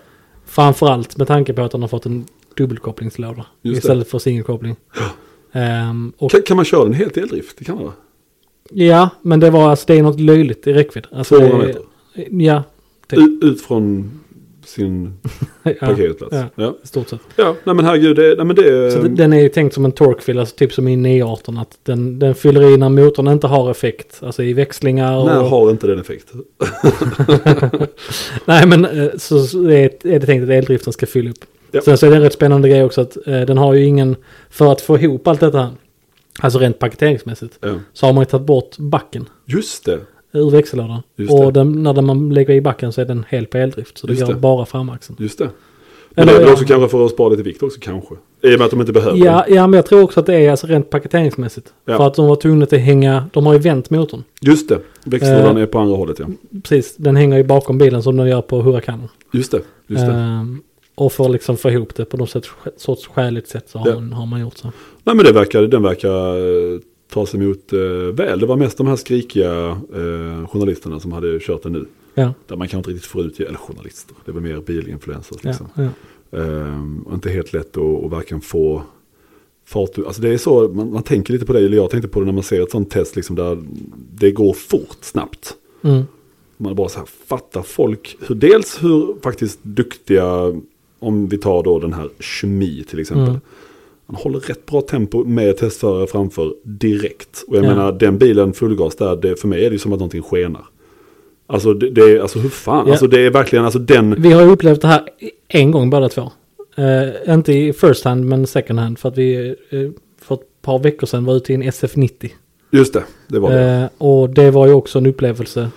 Speaker 1: Framförallt med tanke på att han har fått en dubbelkopplingslåda
Speaker 2: Just det.
Speaker 1: istället för singelkoppling. Ehm, och,
Speaker 2: kan, kan man köra den helt i eldrift? Det kan man va?
Speaker 1: ja, men det var alltså det är något löjligt i räckvidd. Alltså,
Speaker 2: 200
Speaker 1: det- Ja,
Speaker 2: meter.
Speaker 1: det-
Speaker 2: Ut, ut från sin
Speaker 1: ja,
Speaker 2: parkeringsplats.
Speaker 1: ja,
Speaker 2: Ja, ja.
Speaker 1: i stort sett.
Speaker 2: nej men herregud, det, nej, men det är...
Speaker 1: Så d- den är ju tänkt som en torquefill, alltså typ som i 918. Att den, den fyller i när motorn inte har effekt. Alltså i växlingar och...
Speaker 2: När har inte den effekt?
Speaker 1: Nej men eh, så så är det är det tänkt att eldriften ska fylla upp.
Speaker 2: Ja.
Speaker 1: Sen så är det en rätt spännande grej också att eh, den har ju ingen, för att få ihop allt detta, alltså rent paketeringsmässigt,
Speaker 2: Ja.
Speaker 1: så har man ju tagit bort backen
Speaker 2: Just det,
Speaker 1: ur växellådan.
Speaker 2: Just det.
Speaker 1: Och den, när den man lägger i backen så är den helt på eldrift, så det
Speaker 2: Just
Speaker 1: gör
Speaker 2: det.
Speaker 1: bara framaxeln.
Speaker 2: just det. Men
Speaker 1: Eller
Speaker 2: det är väl
Speaker 1: ja.
Speaker 2: också kanske för att spara lite vikt också kanske. I och med att de inte behöver
Speaker 1: Ja,
Speaker 2: den.
Speaker 1: ja, men jag tror också att det är alltså rent paketeringsmässigt.
Speaker 2: Ja.
Speaker 1: För att de var tvungna att hänga, de har ju vänt motorn.
Speaker 2: Just det, växellådan
Speaker 1: Eh.
Speaker 2: är på andra hållet ja.
Speaker 1: Precis, den hänger ju bakom bilen som de gör på Huracanen.
Speaker 2: Just det, just det.
Speaker 1: Ehm, och för att liksom få ihop det på något sätt, sorts skäligt sätt så har,
Speaker 2: Ja.
Speaker 1: man, har man gjort så.
Speaker 2: Nej men det verkar, den verkar eh, ta sig emot eh, väl. Det var mest de här skrikiga eh, journalisterna som hade kört den nu.
Speaker 1: Ja.
Speaker 2: Där man kanske inte riktigt får ut, eller journalister, det var mer bilinfluencers
Speaker 1: Ja,
Speaker 2: liksom.
Speaker 1: ja.
Speaker 2: Ehm, och inte helt lätt att, att varken få fart ur- Alltså det är så, man, man tänker lite på det, eller jag tänkte på det när man ser ett sånt test liksom där det går fort, snabbt.
Speaker 1: Mm.
Speaker 2: Man bara så här, fattar folk hur, dels hur faktiskt duktiga, om vi tar då den här kemi till exempel.
Speaker 1: Mm.
Speaker 2: Han håller rätt bra tempo med testförare framför direkt. Och jag
Speaker 1: Ja.
Speaker 2: menar den bilen fullgas där, det, för mig är det ju som att någonting skenar. Alltså det, det är, alltså hur fan,
Speaker 1: Ja.
Speaker 2: alltså det är verkligen, alltså den,
Speaker 1: Vi har ju upplevt det här en gång båda två. Eh, inte i first hand men second hand för att vi eh, för ett par veckor sedan var ute i en SF90.
Speaker 2: just det, det var det.
Speaker 1: Eh, och det var ju också en upplevelse.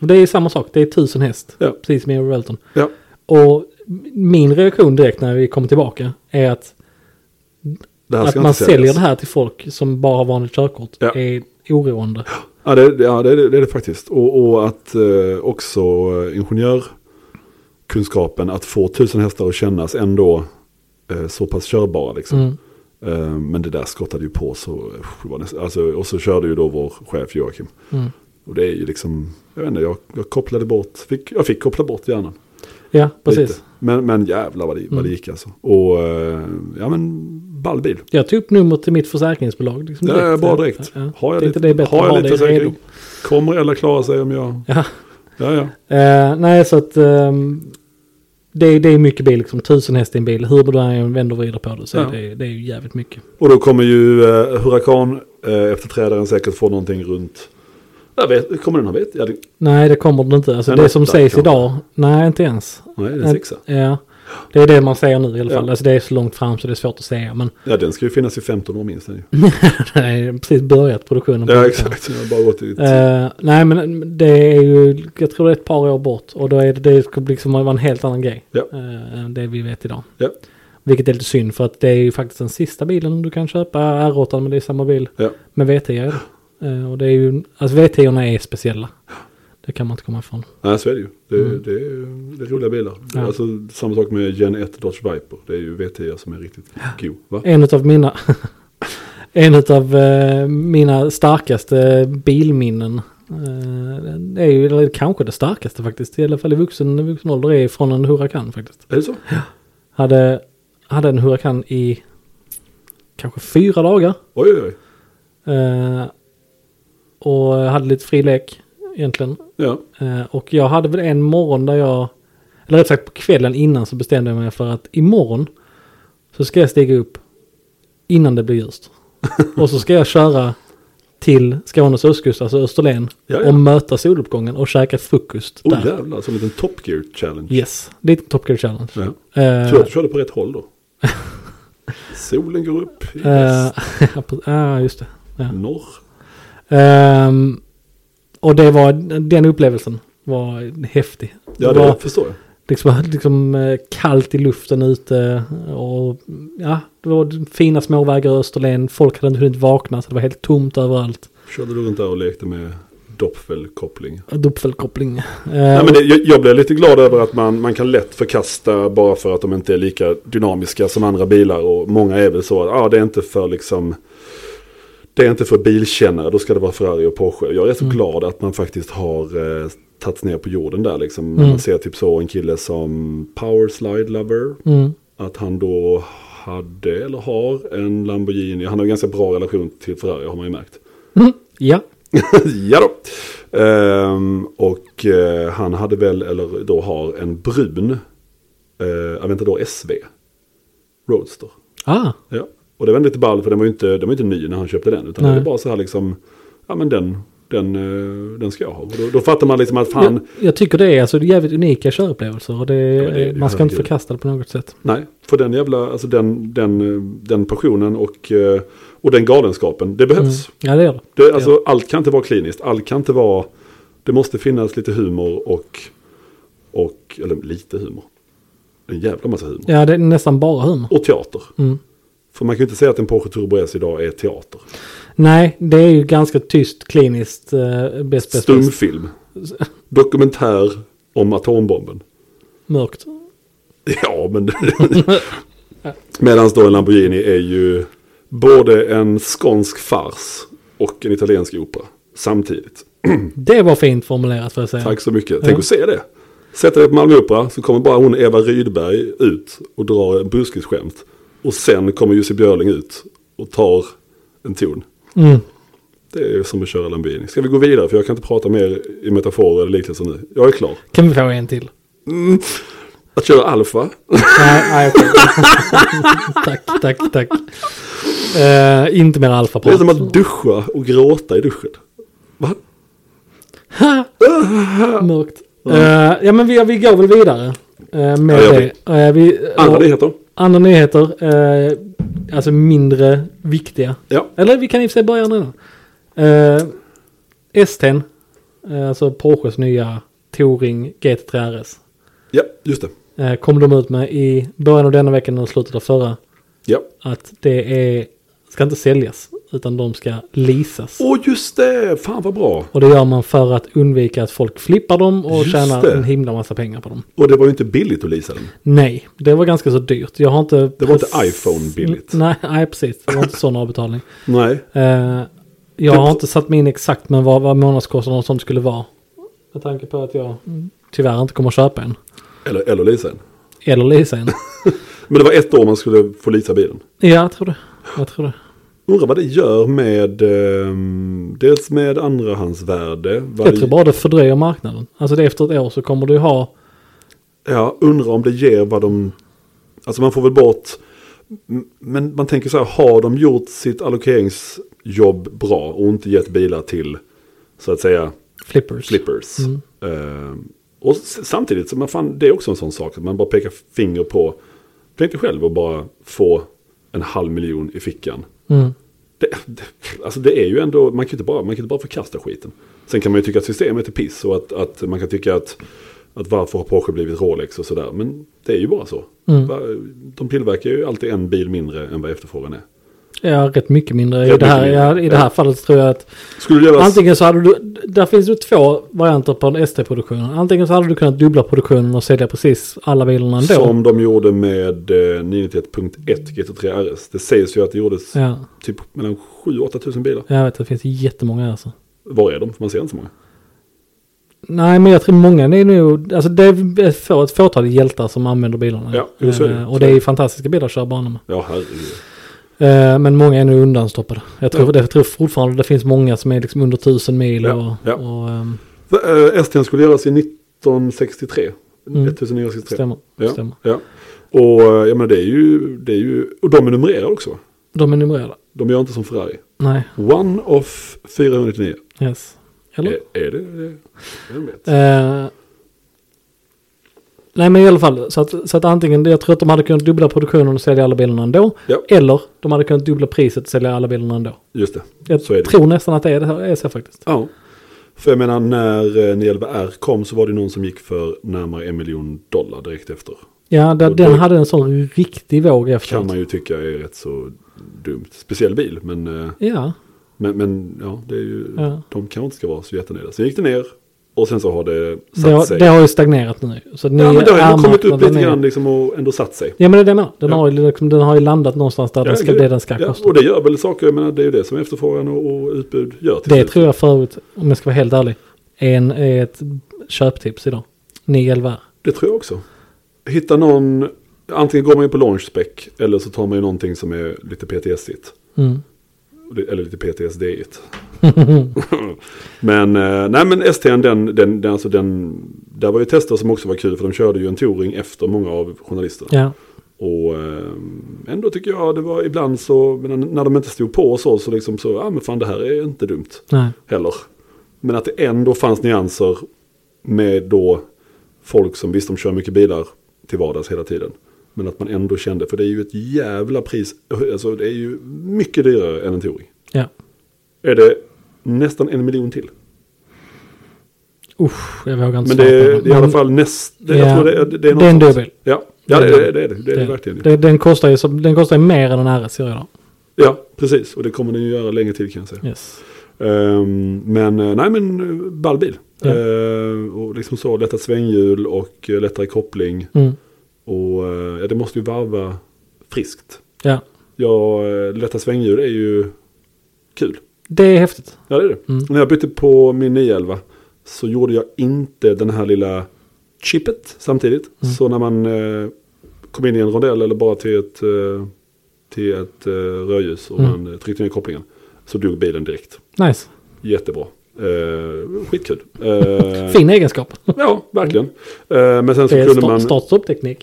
Speaker 1: Och Det är samma sak, det är tusen häst.
Speaker 2: Ja.
Speaker 1: Precis som i Relton.
Speaker 2: Ja.
Speaker 1: Och min reaktion direkt när vi kom tillbaka är att,
Speaker 2: Det här
Speaker 1: att
Speaker 2: ska
Speaker 1: man
Speaker 2: inte
Speaker 1: säljer
Speaker 2: säljas.
Speaker 1: det här till folk som bara har vanligt körkort
Speaker 2: Ja.
Speaker 1: är oroande.
Speaker 2: Ja, det, det- ja det, det, det är det faktiskt. Och, och att eh, också eh, ingenjörkunskapen att få tusen hästar att kännas ändå eh, så pass körbara. Liksom.
Speaker 1: Mm.
Speaker 2: Eh, men det där skottade ju på så, usch, det var nästan- alltså, och så körde ju då vår chef Joakim.
Speaker 1: Mm.
Speaker 2: Och det är ju liksom, jag vet inte, jag, jag kopplade bort, fick, jag fick koppla bort hjärnan.
Speaker 1: Ja, precis.
Speaker 2: lite. Men, men jävlar vad det, vad det
Speaker 1: Mm.
Speaker 2: gick alltså. Och eh, ja men ball bil.
Speaker 1: Jag tog upp nummer till mitt försäkringsbolag. Liksom
Speaker 2: Det är bra direkt.
Speaker 1: Ja, ja.
Speaker 2: Har jag
Speaker 1: Tänkte
Speaker 2: lite,
Speaker 1: det är bättre
Speaker 2: har
Speaker 1: att
Speaker 2: jag
Speaker 1: ha
Speaker 2: lite
Speaker 1: det redo.
Speaker 2: säkring. Kommer eller klarar sig om jag...
Speaker 1: Ja.
Speaker 2: Ja, ja.
Speaker 1: Eh, nej, så att ehm, det, är- det är mycket bil, liksom tusen häst i en bil. Hur du än vänder och vrider på det så
Speaker 2: Ja.
Speaker 1: är det, det är ju jävligt mycket.
Speaker 2: Och då kommer ju eh, Huracan eh, efterträdaren säkert få någonting runt... Jag vet, kommer den ha vet? Ja, det,
Speaker 1: Nej, det kommer det inte. Alltså
Speaker 2: En
Speaker 1: det som
Speaker 2: åtta,
Speaker 1: sägs
Speaker 2: kanske?
Speaker 1: idag, nej inte ens.
Speaker 2: nej, det är en sexa.
Speaker 1: Ja, det är det man säger nu i alla
Speaker 2: Ja.
Speaker 1: fall. Alltså det är så långt fram så det är svårt att säga. Men
Speaker 2: Ja, den ska ju finnas i 15 år minst. den
Speaker 1: Mm.
Speaker 2: ju.
Speaker 1: nej, jag har precis börjat produktionen. på
Speaker 2: Ja,
Speaker 1: det.
Speaker 2: exakt. Jag har bara gått i...
Speaker 1: Eh, nej, men det är ju, jag tror det är ett par år bort. Och då är det, det kommer liksom vara en helt annan grej.
Speaker 2: Ja.
Speaker 1: eh, än det vi vet idag.
Speaker 2: Ja,
Speaker 1: Vilket är lite synd för att det är ju faktiskt den sista bilen du kan köpa. R8 men det är samma bil.
Speaker 2: ja.
Speaker 1: Med V10. Eh, Och det är ju, alltså V10 är speciella. Det kan man inte komma ifrån.
Speaker 2: Nej, så är det ju. Det,
Speaker 1: Mm.
Speaker 2: det, är, det är roliga bilar.
Speaker 1: Ja.
Speaker 2: Alltså, samma sak med Gen 1 Dodge Viper. Det är ju V10 som är riktigt god. Va?
Speaker 1: En av mina, en av eh, mina starkaste bilminnen. eh, det är ju eller kanske det starkaste faktiskt. I alla fall i vuxen, vuxen ålder är från en Huracan faktiskt.
Speaker 2: Är det så?
Speaker 1: Hade, hade en Huracan i kanske fyra dagar.
Speaker 2: Oj, oj, oj.
Speaker 1: Eh, och jag hade lite fri lek egentligen.
Speaker 2: Ja.
Speaker 1: Eh, och jag hade väl en morgon där jag, eller rätt sagt på kvällen innan så bestämde jag mig för att imorgon så ska jag stiga upp innan det blir ljust. och så ska jag köra till Skånes östkust, alltså Österlen,
Speaker 2: Ja, ja.
Speaker 1: och möta soluppgången och käka frukost
Speaker 2: Oh
Speaker 1: där.
Speaker 2: jävlar, som en liten Top Gear Challenge.
Speaker 1: Yes, lite Top Gear Challenge.
Speaker 2: Ja.
Speaker 1: Eh,
Speaker 2: Tur att du körde på rätt håll då. Solen går upp i
Speaker 1: eh,
Speaker 2: väst,
Speaker 1: ja, precis. ah, just det.
Speaker 2: norr.
Speaker 1: Ehm, och det var, den upplevelsen var häftig.
Speaker 2: Ja,
Speaker 1: det
Speaker 2: det
Speaker 1: var
Speaker 2: förstår jag.
Speaker 1: liksom, liksom eh, kallt i luften ute och ja, det var fina småvägar i Österlen. Folk hade inte hunnit vakna så det var helt tomt överallt.
Speaker 2: Körde du runt där och lekte med Doppfelkoppling?
Speaker 1: Dopfelkoppling. Uh,
Speaker 2: Nej, men det, jag, jag blev lite glad över att man, man kan lätt förkasta bara för att de inte är lika dynamiska som andra bilar. Och många är väl så att ah, det är inte för liksom... Det är inte för bilkännare, då ska det vara Ferrari och Porsche. Jag är så glad att man faktiskt har eh, tagits ner på jorden där liksom. Man ser typ så en kille som Power Slide Lover.
Speaker 1: mm,
Speaker 2: Att han då hade eller har en Lamborghini. Han har en ganska bra relation till Ferrari har man ju märkt.
Speaker 1: Mm. ja,
Speaker 2: ja då. Ehm, och eh, han hade väl, eller då har en brun uh, Aventador SV. Roadster.
Speaker 1: ah,
Speaker 2: Ja. Och det var lite ball för den var ju inte, den var inte ny när han köpte den. Utan
Speaker 1: Nej.
Speaker 2: det var bara så här liksom, ja men den, den, eh, den ska jag ha. Och då, då fattar man liksom att fan,
Speaker 1: jag, jag tycker det är alltså jävligt unika körupplevelser och det,
Speaker 2: men det-
Speaker 1: man ska inte
Speaker 2: herregud.
Speaker 1: förkasta det på något sätt.
Speaker 2: Nej, för den jävla, alltså den, den, eh, den passionen och, eh, och den galenskapen, det behövs.
Speaker 1: Mm. Ja, det gör det.
Speaker 2: Det, alltså, Allt kan inte vara kliniskt, allt kan inte vara, det måste finnas lite humor och, och eller lite humor. En jävla massa humor.
Speaker 1: Ja, det är nästan bara humor.
Speaker 2: Och teater.
Speaker 1: Mm.
Speaker 2: För man kan ju inte säga att en Porsche Turbo S idag är teater.
Speaker 1: Nej, det är ju ganska tyst, kliniskt, eh, bäst, bäst, bäst,
Speaker 2: Stumfilm. Dokumentär om atombomben.
Speaker 1: mörkt.
Speaker 2: Ja, men... Medan då en Lamborghini är ju både en skånsk fars och en italiensk opera samtidigt.
Speaker 1: Det var fint formulerat får jag säga.
Speaker 2: Tack så mycket. Tänk att se det. Sätter dig på Malmö Opera så kommer bara hon Eva Rydberg ut och drar en buskisskämt. Och sen kommer Jussi Björling ut och tar en ton.
Speaker 1: Mm.
Speaker 2: Det är som att köra Lamborghini. Ska vi gå vidare? För jag kan inte prata mer i metaforer eller liknelser nu. Jag är klar.
Speaker 1: Kan vi få en till?
Speaker 2: Att köra Alfa.
Speaker 1: nej, nej okej. tack, tack, tack. Eh, inte mer
Speaker 2: Det är som
Speaker 1: alfaprat.
Speaker 2: att duscha och gråta i duschen. Va?
Speaker 1: Mörkt. Eh, ja, men vi, vi går väl vidare eh, med
Speaker 2: Ja, jag
Speaker 1: det. Eh, vi,
Speaker 2: Andra
Speaker 1: och-
Speaker 2: nyheter.
Speaker 1: andra nyheter. eh, alltså mindre viktiga.
Speaker 2: Ja.
Speaker 1: Eller vi kan i och för sig börja nu. Uh, S10, eh, alltså Porsches nya Touring GT3 RS.
Speaker 2: Ja, just det.
Speaker 1: eh, kom de ut med i början av denna veckan och slutet av förra.
Speaker 2: Ja.
Speaker 1: Att det är, ska inte säljas utan de ska leasas.
Speaker 2: Åh, just det! Fan vad bra.
Speaker 1: Och det gör man för att undvika att folk flippar dem och
Speaker 2: Just
Speaker 1: tjänar
Speaker 2: det.
Speaker 1: en himla massa pengar på dem.
Speaker 2: Och det var ju inte billigt att leasa den.
Speaker 1: Nej, det var ganska så dyrt. Jag har inte...
Speaker 2: Det var inte iPhone-billigt.
Speaker 1: Nej, nej, precis. Det var inte sån avbetalning.
Speaker 2: Nej.
Speaker 1: Eh, jag
Speaker 2: Det-
Speaker 1: har inte satt mig in exakt med vad, vad månadskostnaden och sånt skulle vara. Med tanke på att jag tyvärr inte kommer att köpa en.
Speaker 2: Eller, eller leasa den.
Speaker 1: Eller leasa en.
Speaker 2: Men det var ett år man skulle få leasa bilen.
Speaker 1: ja, jag tror det. Jag tror det.
Speaker 2: Undrar vad det gör med ehm, dels med andrahandsvärde. Varje,
Speaker 1: Jag tror bara det fördröjer marknaden. Alltså det är efter ett år så kommer du ha...
Speaker 2: Ja, undrar om det ger vad de... Alltså man får väl bort... m- Men man tänker så här, har de gjort sitt allokeringsjobb bra och inte gett bilar till så att säga
Speaker 1: Flippers.
Speaker 2: flippers. Ehm, och s- samtidigt, så man fan, det är också en sån sak att man bara pekar finger på... Tänk dig själv att bara få en halv miljon i fickan.
Speaker 1: Mm.
Speaker 2: Det, det, alltså det är ju ändå, man kan ju inte bara, man kan ju inte bara förkasta skiten. Sen kan man ju tycka att systemet är piss och att, att man kan tycka att, att varför har Porsche blivit Rolex och sådär. Men det är ju bara så.
Speaker 1: Mm.
Speaker 2: Va- De tillverkar ju alltid en bil mindre än vad efterfrågan är.
Speaker 1: Ja, rätt mycket mindre. I
Speaker 2: Rätt
Speaker 1: det här,
Speaker 2: mycket mindre.
Speaker 1: ja, i det här fallet tror jag att
Speaker 2: Skulle det göras...
Speaker 1: antingen så hade du, där finns det två varianter på en ST-produktion. Antingen så hade du kunnat dubbla produktionen och sälja precis alla bilarna ändå.
Speaker 2: Som de gjorde med eh, 991.1 GT3 RS. Det sägs ju att det gjordes
Speaker 1: Ja,
Speaker 2: typ mellan 7-8 tusen bilar.
Speaker 1: jag vet det finns jättemånga alltså.
Speaker 2: Var är de? För man ser inte så många.
Speaker 1: Nej, men jag tror många det är nog, alltså det är ett få- ett fåtal hjältar som använder bilarna.
Speaker 2: Ja, jo, så är det.
Speaker 1: Eh, Och det är ju fantastiska bilar att köra banan med.
Speaker 2: Ja, herregud.
Speaker 1: Eh, Men många är nu undanstoppade. Jag tror, jag tror fortfarande det finns många som är liksom under 1000 mil.
Speaker 2: Ja,
Speaker 1: Och,
Speaker 2: ja.
Speaker 1: och ehm,
Speaker 2: Eh, STn skulle göras i 1963.
Speaker 1: Mm.
Speaker 2: 1963.
Speaker 1: stämmer.
Speaker 2: Ja,
Speaker 1: stämmer.
Speaker 2: ja. Och eh, jag menar, det är ju, det är ju, och de är numrerade också. va?
Speaker 1: De är numrerade.
Speaker 2: De gör inte som Ferrari.
Speaker 1: Nej,
Speaker 2: One of 499.
Speaker 1: yes. Eller?
Speaker 2: Är, är det det? Jag vet.
Speaker 1: Eh, nej men i alla fall, så att, så att antingen, jag tror att de hade kunnat dubbla produktionen och sälja alla bilarna ändå.
Speaker 2: Ja.
Speaker 1: Eller de hade kunnat dubbla priset och sälja alla bilarna ändå.
Speaker 2: Just det.
Speaker 1: Jag
Speaker 2: Så är det.
Speaker 1: tror nästan att det är, det här, är så faktiskt.
Speaker 2: Ja. För jag menar, när eh, 911 R kom så var det någon som gick för närmare en miljon dollar direkt efter.
Speaker 1: Ja, där,
Speaker 2: Och då-
Speaker 1: den hade en sån riktig våg
Speaker 2: Kan
Speaker 1: efteråt.
Speaker 2: man ju tycka är rätt så dumt. Speciell bil, men, eh,
Speaker 1: Ja,
Speaker 2: men, men ja, det är ju,
Speaker 1: Ja.
Speaker 2: de kanske inte ska vara så jättenöjda. Sen gick det ner och sen så har det satt
Speaker 1: det har,
Speaker 2: sig.
Speaker 1: det har ju stagnerat nu. Så att
Speaker 2: ja, men det har ju ändå kommit upp
Speaker 1: R-marknaden
Speaker 2: lite
Speaker 1: är-
Speaker 2: grann liksom, och ändå satt sig.
Speaker 1: Ja men det är det jag menar. Den,
Speaker 2: Ja.
Speaker 1: har ju, liksom, den har ju landat någonstans där den ska,
Speaker 2: gud.
Speaker 1: det den ska
Speaker 2: ja,
Speaker 1: kosta.
Speaker 2: och det gör väl saker, jag menar, det är ju det som efterfrågan och, och utbud gör. till
Speaker 1: Det
Speaker 2: slut.
Speaker 1: tror jag förut, om jag ska vara helt ärlig, är, en, är ett köptips idag. 911
Speaker 2: Det tror jag också. Hitta någon, antingen går man in på launchspec eller så tar man ju någonting som är lite PTS-igt.
Speaker 1: mm.
Speaker 2: Eller lite PTSD-igt. men eh, nej men ST'n den, den, den, alltså den, där var ju tester som också var kul för de körde ju en touring efter många av journalisterna.
Speaker 1: Ja,
Speaker 2: Och eh, ändå tycker jag det var ibland så, men när de inte stod på och så, så liksom så, ja ah, men fan det här är inte dumt
Speaker 1: nej.
Speaker 2: heller. Men att det ändå fanns nyanser med då folk som visst de kör mycket bilar till vardags hela tiden. Men att man ändå kände, för det är ju ett jävla pris, alltså det är ju mycket dyrare än en Touring.
Speaker 1: Ja.
Speaker 2: Är det nästan en miljon till?
Speaker 1: Usch, jag vågar inte
Speaker 2: Men det är,
Speaker 1: svara
Speaker 2: det
Speaker 1: på
Speaker 2: är i alla fall näst, det, jag
Speaker 1: Ja,
Speaker 2: tror det, är- det är
Speaker 1: det är en
Speaker 2: någonstans.
Speaker 1: dubbel.
Speaker 2: Ja, ja det, är det, det är det, det är det verkligen.
Speaker 1: Det, den, kostar ju, som- den kostar ju mer än en RS gör idag.
Speaker 2: Ja, precis. Och det kommer den ju göra länge till kan jag säga.
Speaker 1: Yes.
Speaker 2: Ehm, men eh, nej men eh, ball bil.
Speaker 1: Ja.
Speaker 2: Ehm, och liksom så, lätta svänghjul och eh, lättare koppling.
Speaker 1: Mm.
Speaker 2: Och eh, ja, det måste ju varva friskt.
Speaker 1: Ja,
Speaker 2: Ja, eh, lätta svänghjul är ju kul.
Speaker 1: det är häftigt.
Speaker 2: Ja, det är det.
Speaker 1: Mm.
Speaker 2: När jag bytte på min 911 så gjorde jag inte den här lilla chippet samtidigt.
Speaker 1: Mm.
Speaker 2: Så när man eh, kom in i en rondell eller bara till ett, eh, till ett eh, rödljus och
Speaker 1: Mm.
Speaker 2: man eh, tryckte ner kopplingen så dog bilen direkt. Eh,
Speaker 1: Nice.
Speaker 2: Eh,
Speaker 1: Mm.
Speaker 2: Mm.
Speaker 1: Mm.
Speaker 2: eh,
Speaker 1: Ehm, eh, Alltså, Eh, Mm.
Speaker 2: alltså
Speaker 1: Eh,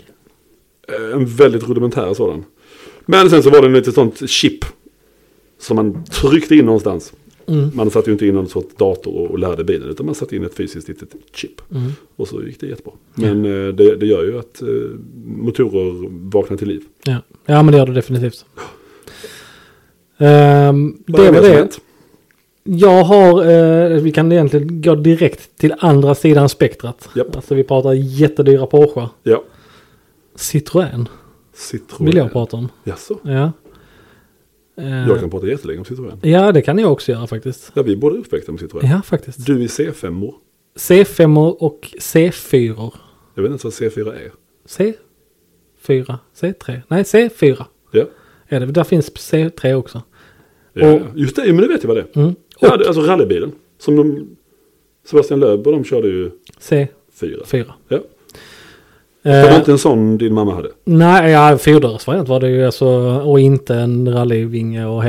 Speaker 1: alltså, liksom. Eh, eh, E Eh, typ Eh, alltså,
Speaker 2: liksom. E.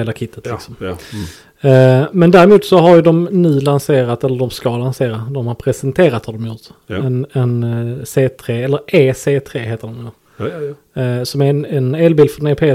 Speaker 2: alltså, eh, typ, eh, Eh, men,
Speaker 1: Alltså det är inte det en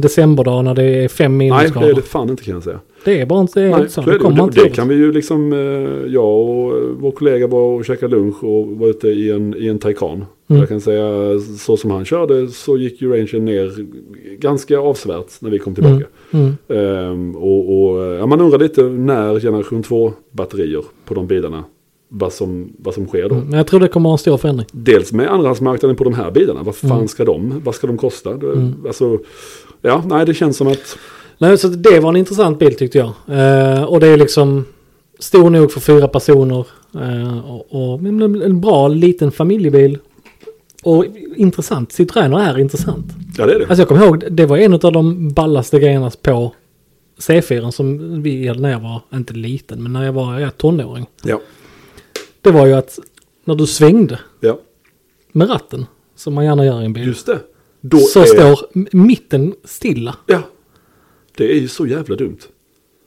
Speaker 1: decemberdag när det är fem
Speaker 2: nej, det är det
Speaker 1: minusgrader.
Speaker 2: fan inte kan jag säga.
Speaker 1: Det är bara inte det är
Speaker 2: Nej,
Speaker 1: inte
Speaker 2: så
Speaker 1: så.
Speaker 2: är
Speaker 1: Det
Speaker 2: det.
Speaker 1: kommer
Speaker 2: Och
Speaker 1: inte
Speaker 2: det, det
Speaker 1: ut.
Speaker 2: kan vi ju liksom, eh, jag och eh, vår kollega var och käkade lunch och var ute i en, i en Taycan.
Speaker 1: Mm.
Speaker 2: Jag kan säga, så som han körde så gick ju rangen ner ganska avsevärt när vi kom tillbaka.
Speaker 1: Mm. Mm.
Speaker 2: Ehm, och och eh, ja, man undrar lite när generation 2-batterier på de bilarna, vad som, vad som sker då.
Speaker 1: Mm. Men Jag tror det kommer att ha en stor förändring.
Speaker 2: Dels med andrahandsmarknaden på de här bilarna, vad fan
Speaker 1: Mm.
Speaker 2: ska de, vad ska de kosta? Det,
Speaker 1: Mm.
Speaker 2: Alltså, ja, nej det känns som att,
Speaker 1: Nej, så det var en intressant bild tyckte jag. Eh, och det är liksom stor nog för fyra personer. Eh, och, och, men en- en bra liten familjebil. Och intressant. Citroëner är intressant.
Speaker 2: ja det är det.
Speaker 1: Alltså jag kommer ihåg, det var en av de ballaste grejerna på C4 som vi hade när jag var, inte liten, men när jag var jag är tonåring.
Speaker 2: ja.
Speaker 1: Det var ju att när du svängde
Speaker 2: ja,
Speaker 1: med ratten, som man gärna gör i en bil,
Speaker 2: just det. Då
Speaker 1: så
Speaker 2: är-
Speaker 1: står m- mitten stilla.
Speaker 2: Ja. Det är ju så jävla dumt.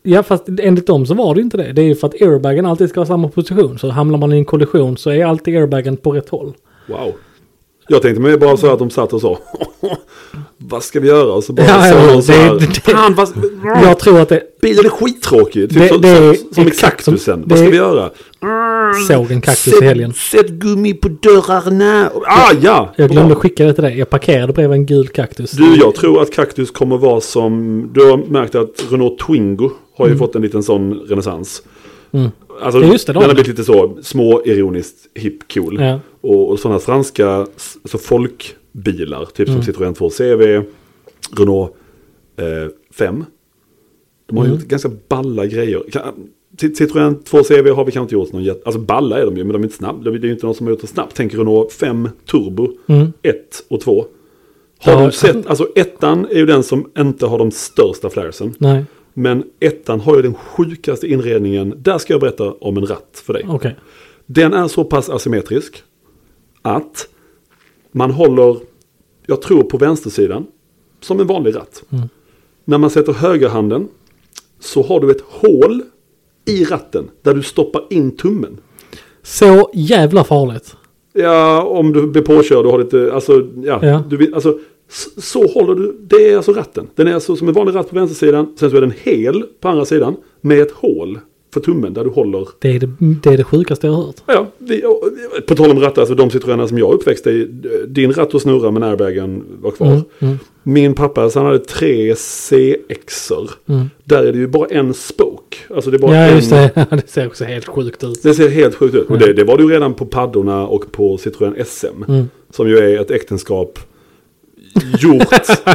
Speaker 1: Ja, fast enligt dem så var det inte det. Det är ju för att airbagen alltid ska ha samma position. Så hamnar man i en kollision så är alltid airbagen på rätt håll.
Speaker 2: Wow. Jag tänkte mig bara så här att de satt och sa Vad ska vi göra? Och så bara
Speaker 1: Ja,
Speaker 2: sa
Speaker 1: ja,
Speaker 2: någon så
Speaker 1: det-
Speaker 2: här,
Speaker 1: det- det-
Speaker 2: Fan, vad...
Speaker 1: Jag tror att det
Speaker 2: Bilen är skittråkig. Typ
Speaker 1: Det-
Speaker 2: som,
Speaker 1: det är
Speaker 2: som, som med
Speaker 1: exakt som-
Speaker 2: kaktusen.
Speaker 1: det
Speaker 2: vad ska
Speaker 1: är-
Speaker 2: vi göra?
Speaker 1: såg en kaktus
Speaker 2: Sätt-
Speaker 1: i helgen.
Speaker 2: Sätt gummi på dörrarna. Ah, ja!
Speaker 1: Jag glömde
Speaker 2: Bra.
Speaker 1: skicka det till dig. Jag parkerade bredvid en gul kaktus.
Speaker 2: Du, jag tror att kaktus kommer vara som... Du har märkt att Renault Twingo har ju fått en liten sån renässans.
Speaker 1: Mm.
Speaker 2: Alltså,
Speaker 1: Ja, just det, de-
Speaker 2: den har blivit lite så små, ironiskt, hipp, cool.
Speaker 1: Ja.
Speaker 2: Och, och sådana franska s- alltså folkbilar, typ
Speaker 1: Mm.
Speaker 2: som Citroën 2 CV, Renault eh, 5. De har
Speaker 1: Mm.
Speaker 2: gjort ganska balla grejer. Kan- Cit- Citroën 2 CV har vi kanske inte gjort någon jätte... Alltså balla är de ju, men de är inte snabba. Det är ju inte någon som har gjort det snabbt. Tänk Renault 5 Turbo, 1 och 2. Har
Speaker 1: Mm. Ja.
Speaker 2: du sett, alltså ettan är ju den som inte har de största flaresen.
Speaker 1: Nej,
Speaker 2: Men ettan har ju den sjukaste inredningen. Där ska jag berätta om en ratt för dig.
Speaker 1: okej.
Speaker 2: Den är så pass asymmetrisk att man håller, jag tror på vänstersidan, som en vanlig ratt. När man sätter högerhanden så har du ett hål i ratten där du stoppar in tummen.
Speaker 1: Så jävla farligt.
Speaker 2: Ja, om du blir påkörd och har lite, alltså, ja.
Speaker 1: Ja.
Speaker 2: Du, vill- alltså, s- så håller du, det är alltså ratten. Den är alltså som en vanlig ratt på vänstersidan, sen så är den hel på andra sidan med ett hål för tummen där du håller
Speaker 1: Det är det, det, är det sjukaste jag har hört.
Speaker 2: Ja, vi, och- och- på tal om rattar, alltså de Citroenerna som jag uppväxte i, din ratt och snurra men airbagen var kvar.
Speaker 1: Mm,
Speaker 2: Min pappa, alltså, han hade tre CX-er. Där är det ju bara en spoke. Alltså det är bara
Speaker 1: Mm. Ja,
Speaker 2: en,
Speaker 1: just det. Det ser också helt sjukt ut.
Speaker 2: det ser helt sjukt ut. Och
Speaker 1: Mm.
Speaker 2: det, det var det ju redan på paddorna och på Citroën SM. Som ju är ett äktenskap gjort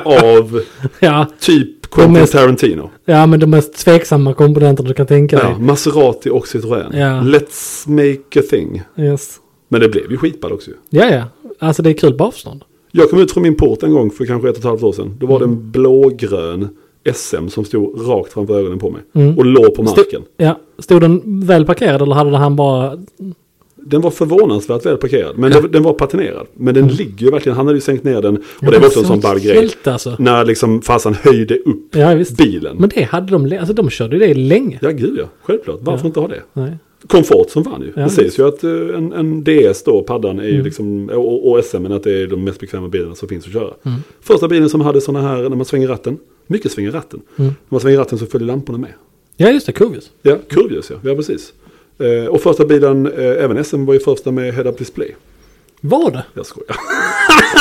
Speaker 2: av
Speaker 1: Ja,
Speaker 2: typ Quentin
Speaker 1: mest-
Speaker 2: Tarantino.
Speaker 1: ja men de mest tveksamma komponenterna du kan tänka
Speaker 2: Ja,
Speaker 1: dig.
Speaker 2: Maserati och Citroën.
Speaker 1: Ja.
Speaker 2: Let's make a thing.
Speaker 1: Ja. Yes.
Speaker 2: Men det blev ju skitball också ju.
Speaker 1: ja, ja. Alltså det är kul på avstånd.
Speaker 2: Jag kom ut från min port en gång för kanske ett och ett halvt år sedan. Då var det
Speaker 1: Mm.
Speaker 2: en blågrön SM som stod rakt framför ögonen på mig.
Speaker 1: Mm.
Speaker 2: Och låg på marken.
Speaker 1: Ja, stod den väl parkerad eller hade han bara...
Speaker 2: Den var förvånansvärt väl parkerad. Men den- den var patinerad. Men den ligger ju verkligen. Han hade ju sänkt ner den. Och det var också en sån ball grej.
Speaker 1: Mm. Helt alltså.
Speaker 2: När liksom farsan höjde upp
Speaker 1: Ja, visst.
Speaker 2: bilen.
Speaker 1: Men det hade de... Alltså de körde ju det länge.
Speaker 2: Ja gud ja, självklart. Varför
Speaker 1: Ja.
Speaker 2: inte ha det?
Speaker 1: Nej.
Speaker 2: Komfort som fan ju.
Speaker 1: Ja, Mm.
Speaker 2: det
Speaker 1: visst.
Speaker 2: sägs ju att eh, en, en DS då, paddan, är ju liksom, och, och SM, men att det är de mest bekväma bilarna som finns att köra.
Speaker 1: Mm.
Speaker 2: Första bilen som hade sådana här, när man svänger ratten, mycket svänger ratten.
Speaker 1: Mm.
Speaker 2: När man svänger ratten så följer lamporna med.
Speaker 1: Ja, just det. Kurvis.
Speaker 2: Ja, kurvljus ja, ja precis. Eh, och första bilen, eh, även SM, var ju första med head-up display.
Speaker 1: Var det?
Speaker 2: Jag skojar.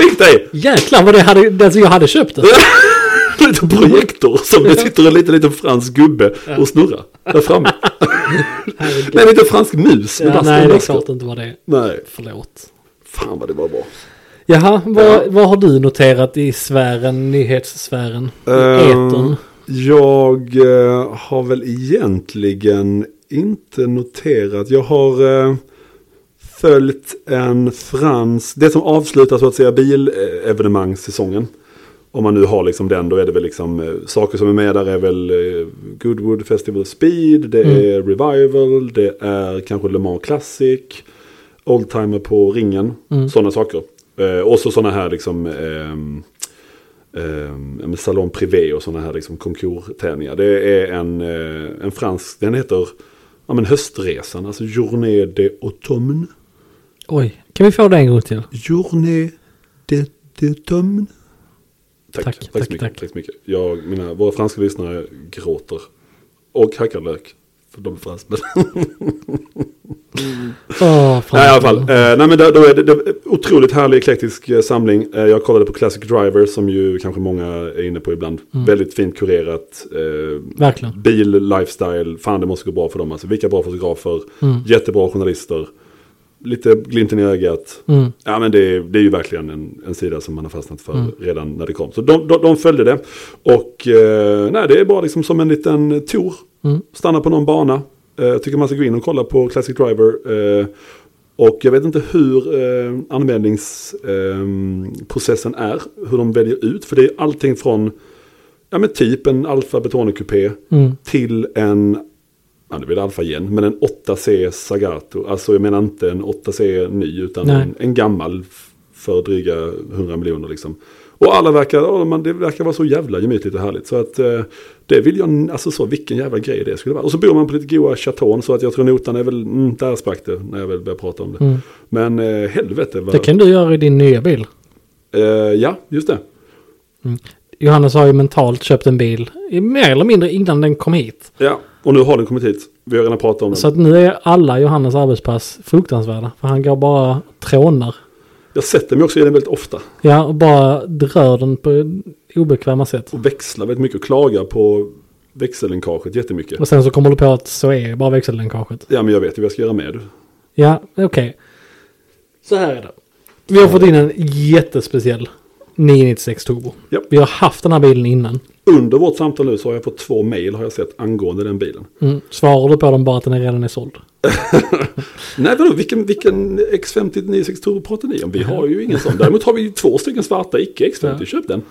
Speaker 2: Fick dig!
Speaker 1: Jäklar vad det hade... Alltså jag hade köpt det.
Speaker 2: Lite projektor som det sitter en liten, liten fransk gubbe och snurrar där framme. nej, lite fransk mus med
Speaker 1: Ja,
Speaker 2: bastu-
Speaker 1: nej, det är
Speaker 2: bastu.
Speaker 1: klart inte vad det är.
Speaker 2: Nej,
Speaker 1: Förlåt.
Speaker 2: fan vad det var bra.
Speaker 1: Jaha, vad,
Speaker 2: Ja.
Speaker 1: vad har du noterat i sfären, nyhetssfären? I etern?
Speaker 2: Ehm, jag eh, har väl egentligen inte noterat. Jag har eh, följt en fransk, det som avslutar så att säga bilevenemangssäsongen. Om man nu har liksom den, då är det väl liksom eh, saker som är med där är väl eh, Goodwood Festival Speed,
Speaker 1: Mm.
Speaker 2: det är Revival, det är kanske Le Mans Classic, Oldtimer på ringen,
Speaker 1: Mm.
Speaker 2: sådana saker. Eh, och så sådana här liksom ehm, ehm, ja, men Salon Privé och sådana här liksom konkurtävlingar. Det är en, eh, en fransk, den heter ja, men Höstresan, alltså Journée de Automne.
Speaker 1: Oj, kan vi få det en gång till?
Speaker 2: Journée de till tömn. Tack,
Speaker 1: Tack,
Speaker 2: tack, tack,
Speaker 1: tack,
Speaker 2: så mycket,
Speaker 1: tack.
Speaker 2: tack. så mycket. Jag, mina, våra franska lyssnare gråter. Och hackar lök. För de är fransmän.
Speaker 1: Åh, fan.
Speaker 2: Nej, i alla fall. Eh, nej, men då, då är det, det är otroligt härlig eklektisk eh, samling. Eh, jag kollade på Classic Driver som ju kanske många är inne på ibland. Väldigt fint kurerat. Eh,
Speaker 1: Mm. Verkligen.
Speaker 2: bil, lifestyle, fan det måste gå bra för dem. Alltså, vilka bra fotografer,
Speaker 1: Mm.
Speaker 2: jättebra journalister. Lite glimten i ögat.
Speaker 1: Mm.
Speaker 2: Ja, men det, är- det är ju verkligen en, en sida som man har fastnat för redan när det kom. Så de, de, de följde det. Och eh, nej, det är bara liksom som en liten tour.
Speaker 1: Mm.
Speaker 2: Stanna på någon bana. Eh, Jag tycker man ska gå in och kolla på Classic Driver. Eh, och jag vet inte hur eh, användningsprocessen är. Hur de väljer ut. För det är allting från ja, men typ en Alfa Betone Coupé
Speaker 1: Mm.
Speaker 2: till en, ja det blir Alfa igen, men en 8C Sagato. Alltså jag menar inte en 8C ny utan
Speaker 1: Nej.
Speaker 2: en, en gammal f- för dryga 100 miljoner liksom. Och alla verkar, ja, man, det verkar vara så jävla gemytligt och härligt. Så att eh, det vill jag, alltså så vilken jävla grej det skulle vara. Och så bor man på lite goa chaton så att jag tror notan är väl, mm, där sprack det när jag väl började prata om det.
Speaker 1: Mm.
Speaker 2: Men eh, helvete vad,
Speaker 1: Det kan du göra i din nya bil.
Speaker 2: eh, ja just det.
Speaker 1: Johannes har ju mentalt köpt en bil i- mer eller mindre innan den kom hit.
Speaker 2: Ja, och nu har den kommit hit. Vi har redan pratat om den.
Speaker 1: Så att nu är alla Johannes arbetspass fruktansvärda. För han går bara trånar.
Speaker 2: Jag sätter mig också i den väldigt ofta.
Speaker 1: Ja, och bara rör den på obekväma sätt.
Speaker 2: och växlar väldigt mycket och klagar på växellänkaget jättemycket.
Speaker 1: Och sen så kommer du på att så är bara växellänkaget.
Speaker 2: Ja men jag vet ju vad jag ska göra med.
Speaker 1: Ja, okej. Så här är det. Vi har fått in en jättespeciell 996 Turbo.
Speaker 2: Ja.
Speaker 1: Vi har haft den här bilen innan.
Speaker 2: Under vårt samtal nu så har jag fått två mejl har jag sett angående den bilen.
Speaker 1: Mm. Svarar du på den bara att den redan är såld?
Speaker 2: Nej vadå, vilken, vilken X50 96 Turbo pratar ni om? Vi har ju ingen sån. Däremot har vi ju två stycken svarta icke X50,
Speaker 1: Ja.
Speaker 2: köp den.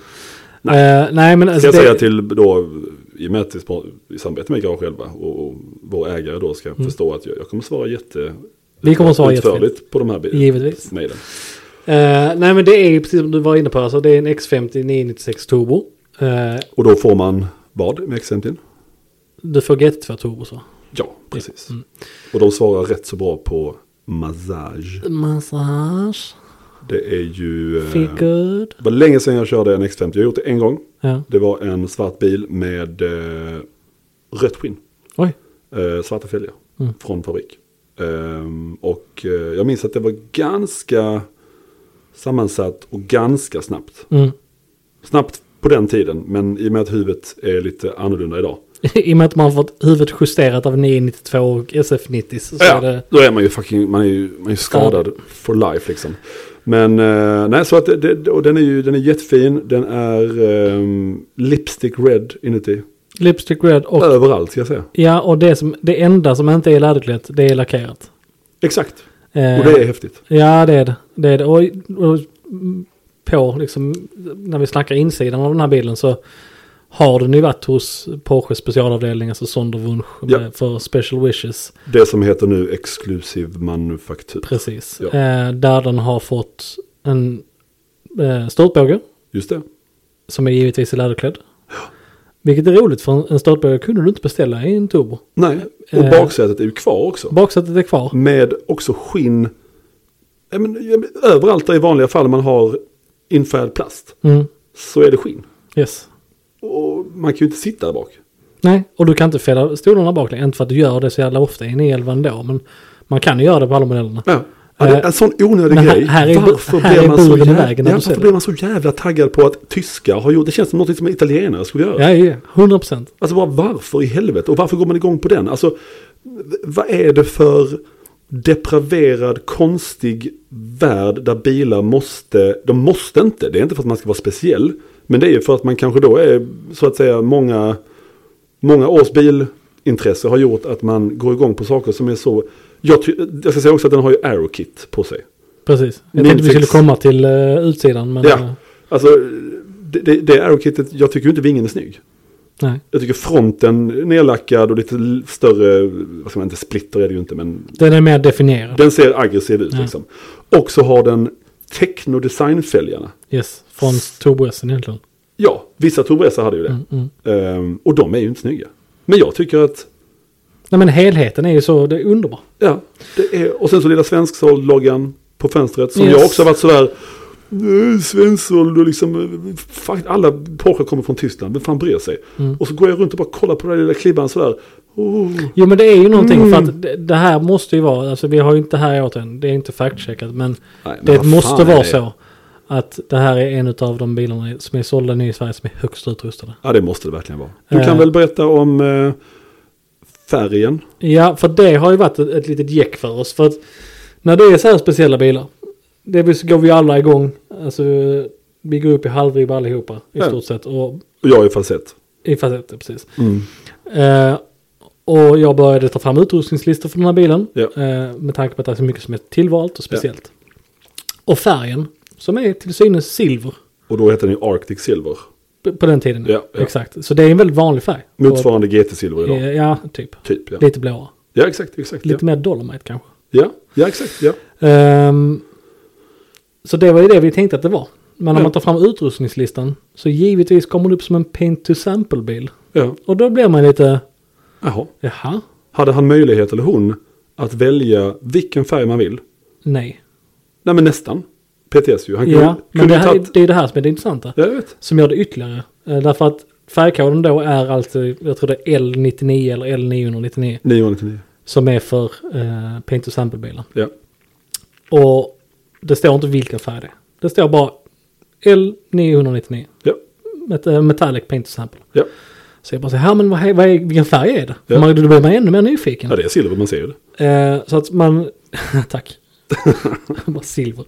Speaker 1: Nej, nej men
Speaker 2: Ska
Speaker 1: alltså
Speaker 2: jag
Speaker 1: det,
Speaker 2: säga till då, i och med att vi spar- i samarbete med Garage själva och, och vår ägare då
Speaker 1: Mm.
Speaker 2: ska förstå att jag, jag kommer svara jätte...
Speaker 1: Vi kommer svara
Speaker 2: utförligt på de här bi-
Speaker 1: Givetvis.
Speaker 2: mejlen.
Speaker 1: eh, nej men det är ju precis som du var inne på. Alltså det är en X50 996 Turbo. Eh,
Speaker 2: Och då får man vad med X50?
Speaker 1: du får GT2 Turbo så.
Speaker 2: Ja, precis. Och de svarar rätt så bra på massage.
Speaker 1: Massage.
Speaker 2: Det är ju... eh,
Speaker 1: Feel good.
Speaker 2: Det var länge sedan jag körde en X50. Jag har gjort det en gång.
Speaker 1: Ja.
Speaker 2: Det var en svart bil med eh, rött skinn.
Speaker 1: Oj.
Speaker 2: Eh, svarta fälgar
Speaker 1: Mm.
Speaker 2: från fabrik. Ehm, och eh, jag minns att det var ganska sammansatt och ganska snabbt.
Speaker 1: Mm.
Speaker 2: Snabbt på den tiden, men i och med att huvudet är lite annorlunda idag.
Speaker 1: I och med att man har fått huvudet justerat av 992 och SF90 så är
Speaker 2: Ja,
Speaker 1: det...
Speaker 2: då är man ju fucking, man är ju, man är ju skadad for life liksom. Men eh, nej, så att det, det, och den är ju, den är jättefin, den är ehm, lipstick red inuti.
Speaker 1: Lipstick Red och...
Speaker 2: Överallt ska jag säga.
Speaker 1: Ja, och det, som, det enda som inte är läderklätt, det är lackerat.
Speaker 2: Exakt,
Speaker 1: Eh,
Speaker 2: och det är häftigt.
Speaker 1: Ja, det är det. det, är det. Och, och på, liksom, när vi snackar insidan av den här bilen så har den ju varit hos Porsche specialavdelning, alltså Sonderwunsch,
Speaker 2: Ja.
Speaker 1: med- för Special Wishes.
Speaker 2: Det som heter nu exklusiv manufaktur.
Speaker 1: Precis.
Speaker 2: Ja.
Speaker 1: Eh, där den har fått en eh, störtbåge,
Speaker 2: Just det.
Speaker 1: som är givetvis läderklädd. Vilket är roligt, för en- en störtbåge kunde du inte beställa i en turbo.
Speaker 2: Nej, och
Speaker 1: Eh.
Speaker 2: baksätet är ju kvar också.
Speaker 1: Baksätet är kvar.
Speaker 2: Med också skinn. Ja, men, ja, men, överallt där i vanliga fall man har infärgad plast
Speaker 1: Mm.
Speaker 2: så är det skinn.
Speaker 1: Yes.
Speaker 2: Och man kan ju inte sitta där bak.
Speaker 1: Nej, och du kan inte fälla stolarna baklänges. Inte för att du gör det så jävla ofta i en E11 ändå, men man kan ju göra det på alla modellerna.
Speaker 2: Ja. Ja, det är en sån onödig
Speaker 1: men här-
Speaker 2: grej.
Speaker 1: här är bu-
Speaker 2: varför
Speaker 1: här är
Speaker 2: blir, man så
Speaker 1: buren i
Speaker 2: jävla,
Speaker 1: vägen när
Speaker 2: ja,
Speaker 1: du
Speaker 2: varför
Speaker 1: ser
Speaker 2: blir man så jävla taggad på att tyskar har gjort? Det känns som något som italienare skulle göra.
Speaker 1: Ja, ja, 100 procent.
Speaker 2: Alltså bara varför i helvete? Och varför går man igång på den? Alltså v- vad är det för depraverad, konstig värld där bilar måste, de måste inte, det är inte för att man ska vara speciell, men det är ju för att man kanske då är, så att säga, många, många års bilintresse har gjort att man går igång på saker som är så, jag, ty- jag ska säga också att den har ju aerokit på sig.
Speaker 1: Precis. Jag
Speaker 2: Min
Speaker 1: tänkte vi
Speaker 2: fix.
Speaker 1: skulle komma till eh, utsidan, men
Speaker 2: Ja,
Speaker 1: eh,
Speaker 2: alltså det, det, det aerokitet, jag tycker ju inte vingen är snygg.
Speaker 1: nej.
Speaker 2: Jag tycker fronten nedlackad och lite l- större, vad ska man inte splitter är det ju inte, men
Speaker 1: Den är mer definierad.
Speaker 2: den ser aggressiv ut
Speaker 1: Ja.
Speaker 2: liksom. Och så har den technodesignfälgarna.
Speaker 1: Yes, från turboessen egentligen.
Speaker 2: Ja, vissa Turbo S hade ju det.
Speaker 1: Mm, mm.
Speaker 2: Ehm, och de är ju inte snygga. Men jag tycker att,
Speaker 1: Nej, men helheten är ju så, det är underbar.
Speaker 2: ja, det är, och sen så lilla svensksåld-loggan på fönstret som
Speaker 1: Yes.
Speaker 2: jag också har varit sådär, eh, Svensson och liksom, eh, fuck, alla Porsche kommer från Tyskland, vem fan bryr sig?
Speaker 1: Mm.
Speaker 2: Och så går jag runt och bara kollar på den där lilla klibban sådär. Oh.
Speaker 1: Jo men det är ju någonting för
Speaker 2: Mm.
Speaker 1: att det, det här måste ju vara, alltså vi har ju inte här åt än, det är inte fact-checkat men
Speaker 2: men
Speaker 1: det
Speaker 2: vad
Speaker 1: måste
Speaker 2: fan är
Speaker 1: vara
Speaker 2: det?
Speaker 1: så. Att det här är en av de bilarna som är sålda nu i Sverige som är högst utrustade.
Speaker 2: Ja, det måste det verkligen vara. Du
Speaker 1: Eh.
Speaker 2: kan väl berätta om eh, färgen?
Speaker 1: Ja, för det har ju varit ett, ett litet jäck för oss. För att när det är så här speciella bilar, det vill så går vi alla igång. Alltså, vi går upp i halvribba allihopa i
Speaker 2: Ja.
Speaker 1: stort sett. Och
Speaker 2: Och jag är falsett.
Speaker 1: i facetter, precis. Eh, och jag började ta fram utrustningslistor för den här bilen.
Speaker 2: Ja.
Speaker 1: Eh, med tanke på att det är så mycket som är tillvalt och speciellt. Och färgen, som är till synes silver
Speaker 2: Och då heter den ju Arctic Silver.
Speaker 1: p- på den tiden.
Speaker 2: Ja, ja.
Speaker 1: Exakt, så det är en väldigt vanlig färg.
Speaker 2: Motsvarande GT-silver
Speaker 1: Och,
Speaker 2: idag.
Speaker 1: eh, ja, typ.
Speaker 2: Typ, ja.
Speaker 1: Lite blåa.
Speaker 2: Ja, exakt, exakt.
Speaker 1: Lite
Speaker 2: ja.
Speaker 1: mer dolomite kanske.
Speaker 2: Ja. ja, exakt, ja.
Speaker 1: Ehm, så det var ju det vi tänkte att det var. Men om
Speaker 2: Ja.
Speaker 1: man tar fram utrustningslistan så givetvis kommer det upp som en paint to sample bil.
Speaker 2: ja.
Speaker 1: Och då blir man lite,
Speaker 2: Jaha.
Speaker 1: jaha,
Speaker 2: Hade han möjlighet, eller hon, att välja vilken färg man vill?
Speaker 1: nej.
Speaker 2: Nej, men nästan. PTS ju. Han kunde,
Speaker 1: Ja, men
Speaker 2: kunde
Speaker 1: det,
Speaker 2: ju
Speaker 1: här,
Speaker 2: tagit-
Speaker 1: det är det här som är det intressanta.
Speaker 2: Ja, jag vet.
Speaker 1: Som gör det ytterligare. Eh, Därför att färgkoden då är alltid, jag tror det är L99 eller L999
Speaker 2: 999.
Speaker 1: som är för eh, paint to sample bilar.
Speaker 2: Ja.
Speaker 1: Och det står inte vilken färg det är. Det står bara L999.
Speaker 2: Ja.
Speaker 1: Met- eh, Metallic paint to sample.
Speaker 2: Ja.
Speaker 1: Så jag bara så här, men vad, är- vad är, vilken färg är det?
Speaker 2: Ja.
Speaker 1: Man, då blir man ännu mer nyfiken.
Speaker 2: ja, det är silver, man ser ju det.
Speaker 1: Eh, så att man, tack. Bara silver.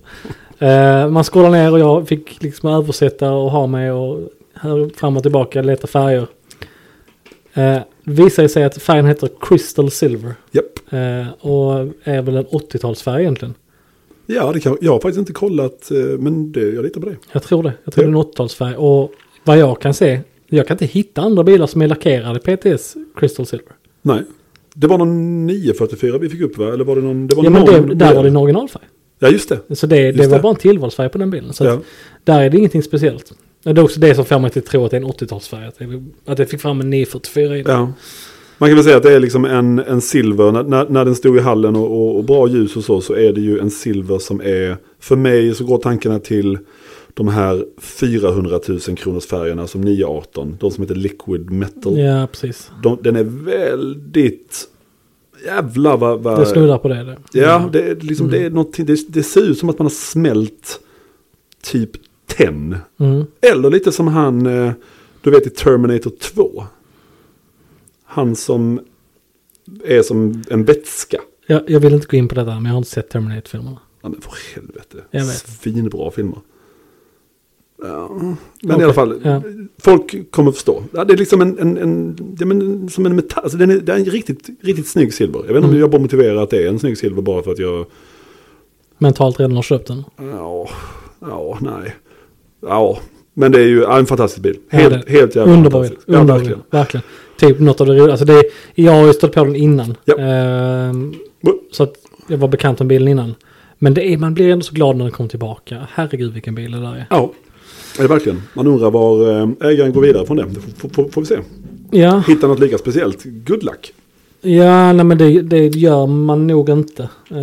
Speaker 1: Eh, man scrollar ner och jag fick liksom översätta och ha mig och här fram och tillbaka leta färger. Eh, det visade sig att färgen heter Crystal Silver.
Speaker 2: Japp.
Speaker 1: Eh, och är väl en 80-talsfärg egentligen.
Speaker 2: Ja, det kan, jag har faktiskt inte kollat, eh, men det, jag litar på dig.
Speaker 1: Jag tror det. Jag tror
Speaker 2: Ja.
Speaker 1: det är en 80-talsfärg. Och vad jag kan se, jag kan inte hitta andra bilar som är lackerade PTS Crystal Silver.
Speaker 2: Nej. Det var någon 944 vi fick upp va? Eller var det någon? Det var
Speaker 1: Ja men
Speaker 2: någon
Speaker 1: det, där var det en originalfärg.
Speaker 2: Ja just det.
Speaker 1: Så det, det
Speaker 2: Just
Speaker 1: var
Speaker 2: det.
Speaker 1: bara en tillvalsfärg på den bilen. Så
Speaker 2: Ja.
Speaker 1: att där är det ingenting speciellt. Det är också det som får mig till att tro att det är en 80-talsfärg. Att, det- att jag fick fram en 944 i den.
Speaker 2: Ja. Man kan väl säga att det är liksom en, en silver. När, när, när den stod i hallen och, och, och bra ljus och så. Så är det ju en silver som är. För mig så går tankarna till de här 400 000 kronors färgerna som 918. De som heter liquid metal.
Speaker 1: Ja, precis.
Speaker 2: De, den är väldigt. Jävlar vad. vad
Speaker 1: Det snurrar Mm. på det. det.
Speaker 2: Ja, det, är liksom, det, är någonting- det, det ser ut som att man har smält typ 10.
Speaker 1: Mm.
Speaker 2: Eller lite som han, eh, du vet i Terminator 2. Han som är som en vätska.
Speaker 1: Jag, jag vill inte gå in på det där, men jag har inte sett Terminator-filmerna.
Speaker 2: Ja, men för helvete.
Speaker 1: Jag vet.
Speaker 2: Svinbra filmer. Ja, men i
Speaker 1: Okej,
Speaker 2: alla fall,
Speaker 1: ja.
Speaker 2: folk kommer förstå. Ja, det är liksom en, en, en, ja, men, som en metall, alltså, den är, den är en riktigt, riktigt snygg silver. Jag vet inte
Speaker 1: Mm.
Speaker 2: om jag bara motiverar att det är en snygg silver bara för att jag
Speaker 1: Mentalt redan har köpt den.
Speaker 2: Ja, ja, nej. Ja, men det är ju ja, en fantastisk bil. Helt,
Speaker 1: Ja, det-
Speaker 2: helt jävla
Speaker 1: Underbar bil.
Speaker 2: fantastisk. Ja,
Speaker 1: Underbar bil.
Speaker 2: verkligen.
Speaker 1: Verkligen. Typ något av det roliga. Alltså det, är- jag har ju stött på den innan.
Speaker 2: Ja.
Speaker 1: Ehm,
Speaker 2: Bu-
Speaker 1: så att jag var bekant med bilen innan. Men det är, man blir ändå så glad när den kommer tillbaka. Herregud vilken bil det där är.
Speaker 2: Ja, det är verkligen. Man undrar var eh, ägaren går vidare från det. Det får, får, får vi se.
Speaker 1: Ja,
Speaker 2: Hitta något lika speciellt. Good luck.
Speaker 1: ja nej, men det, det gör man nog inte. Ehm,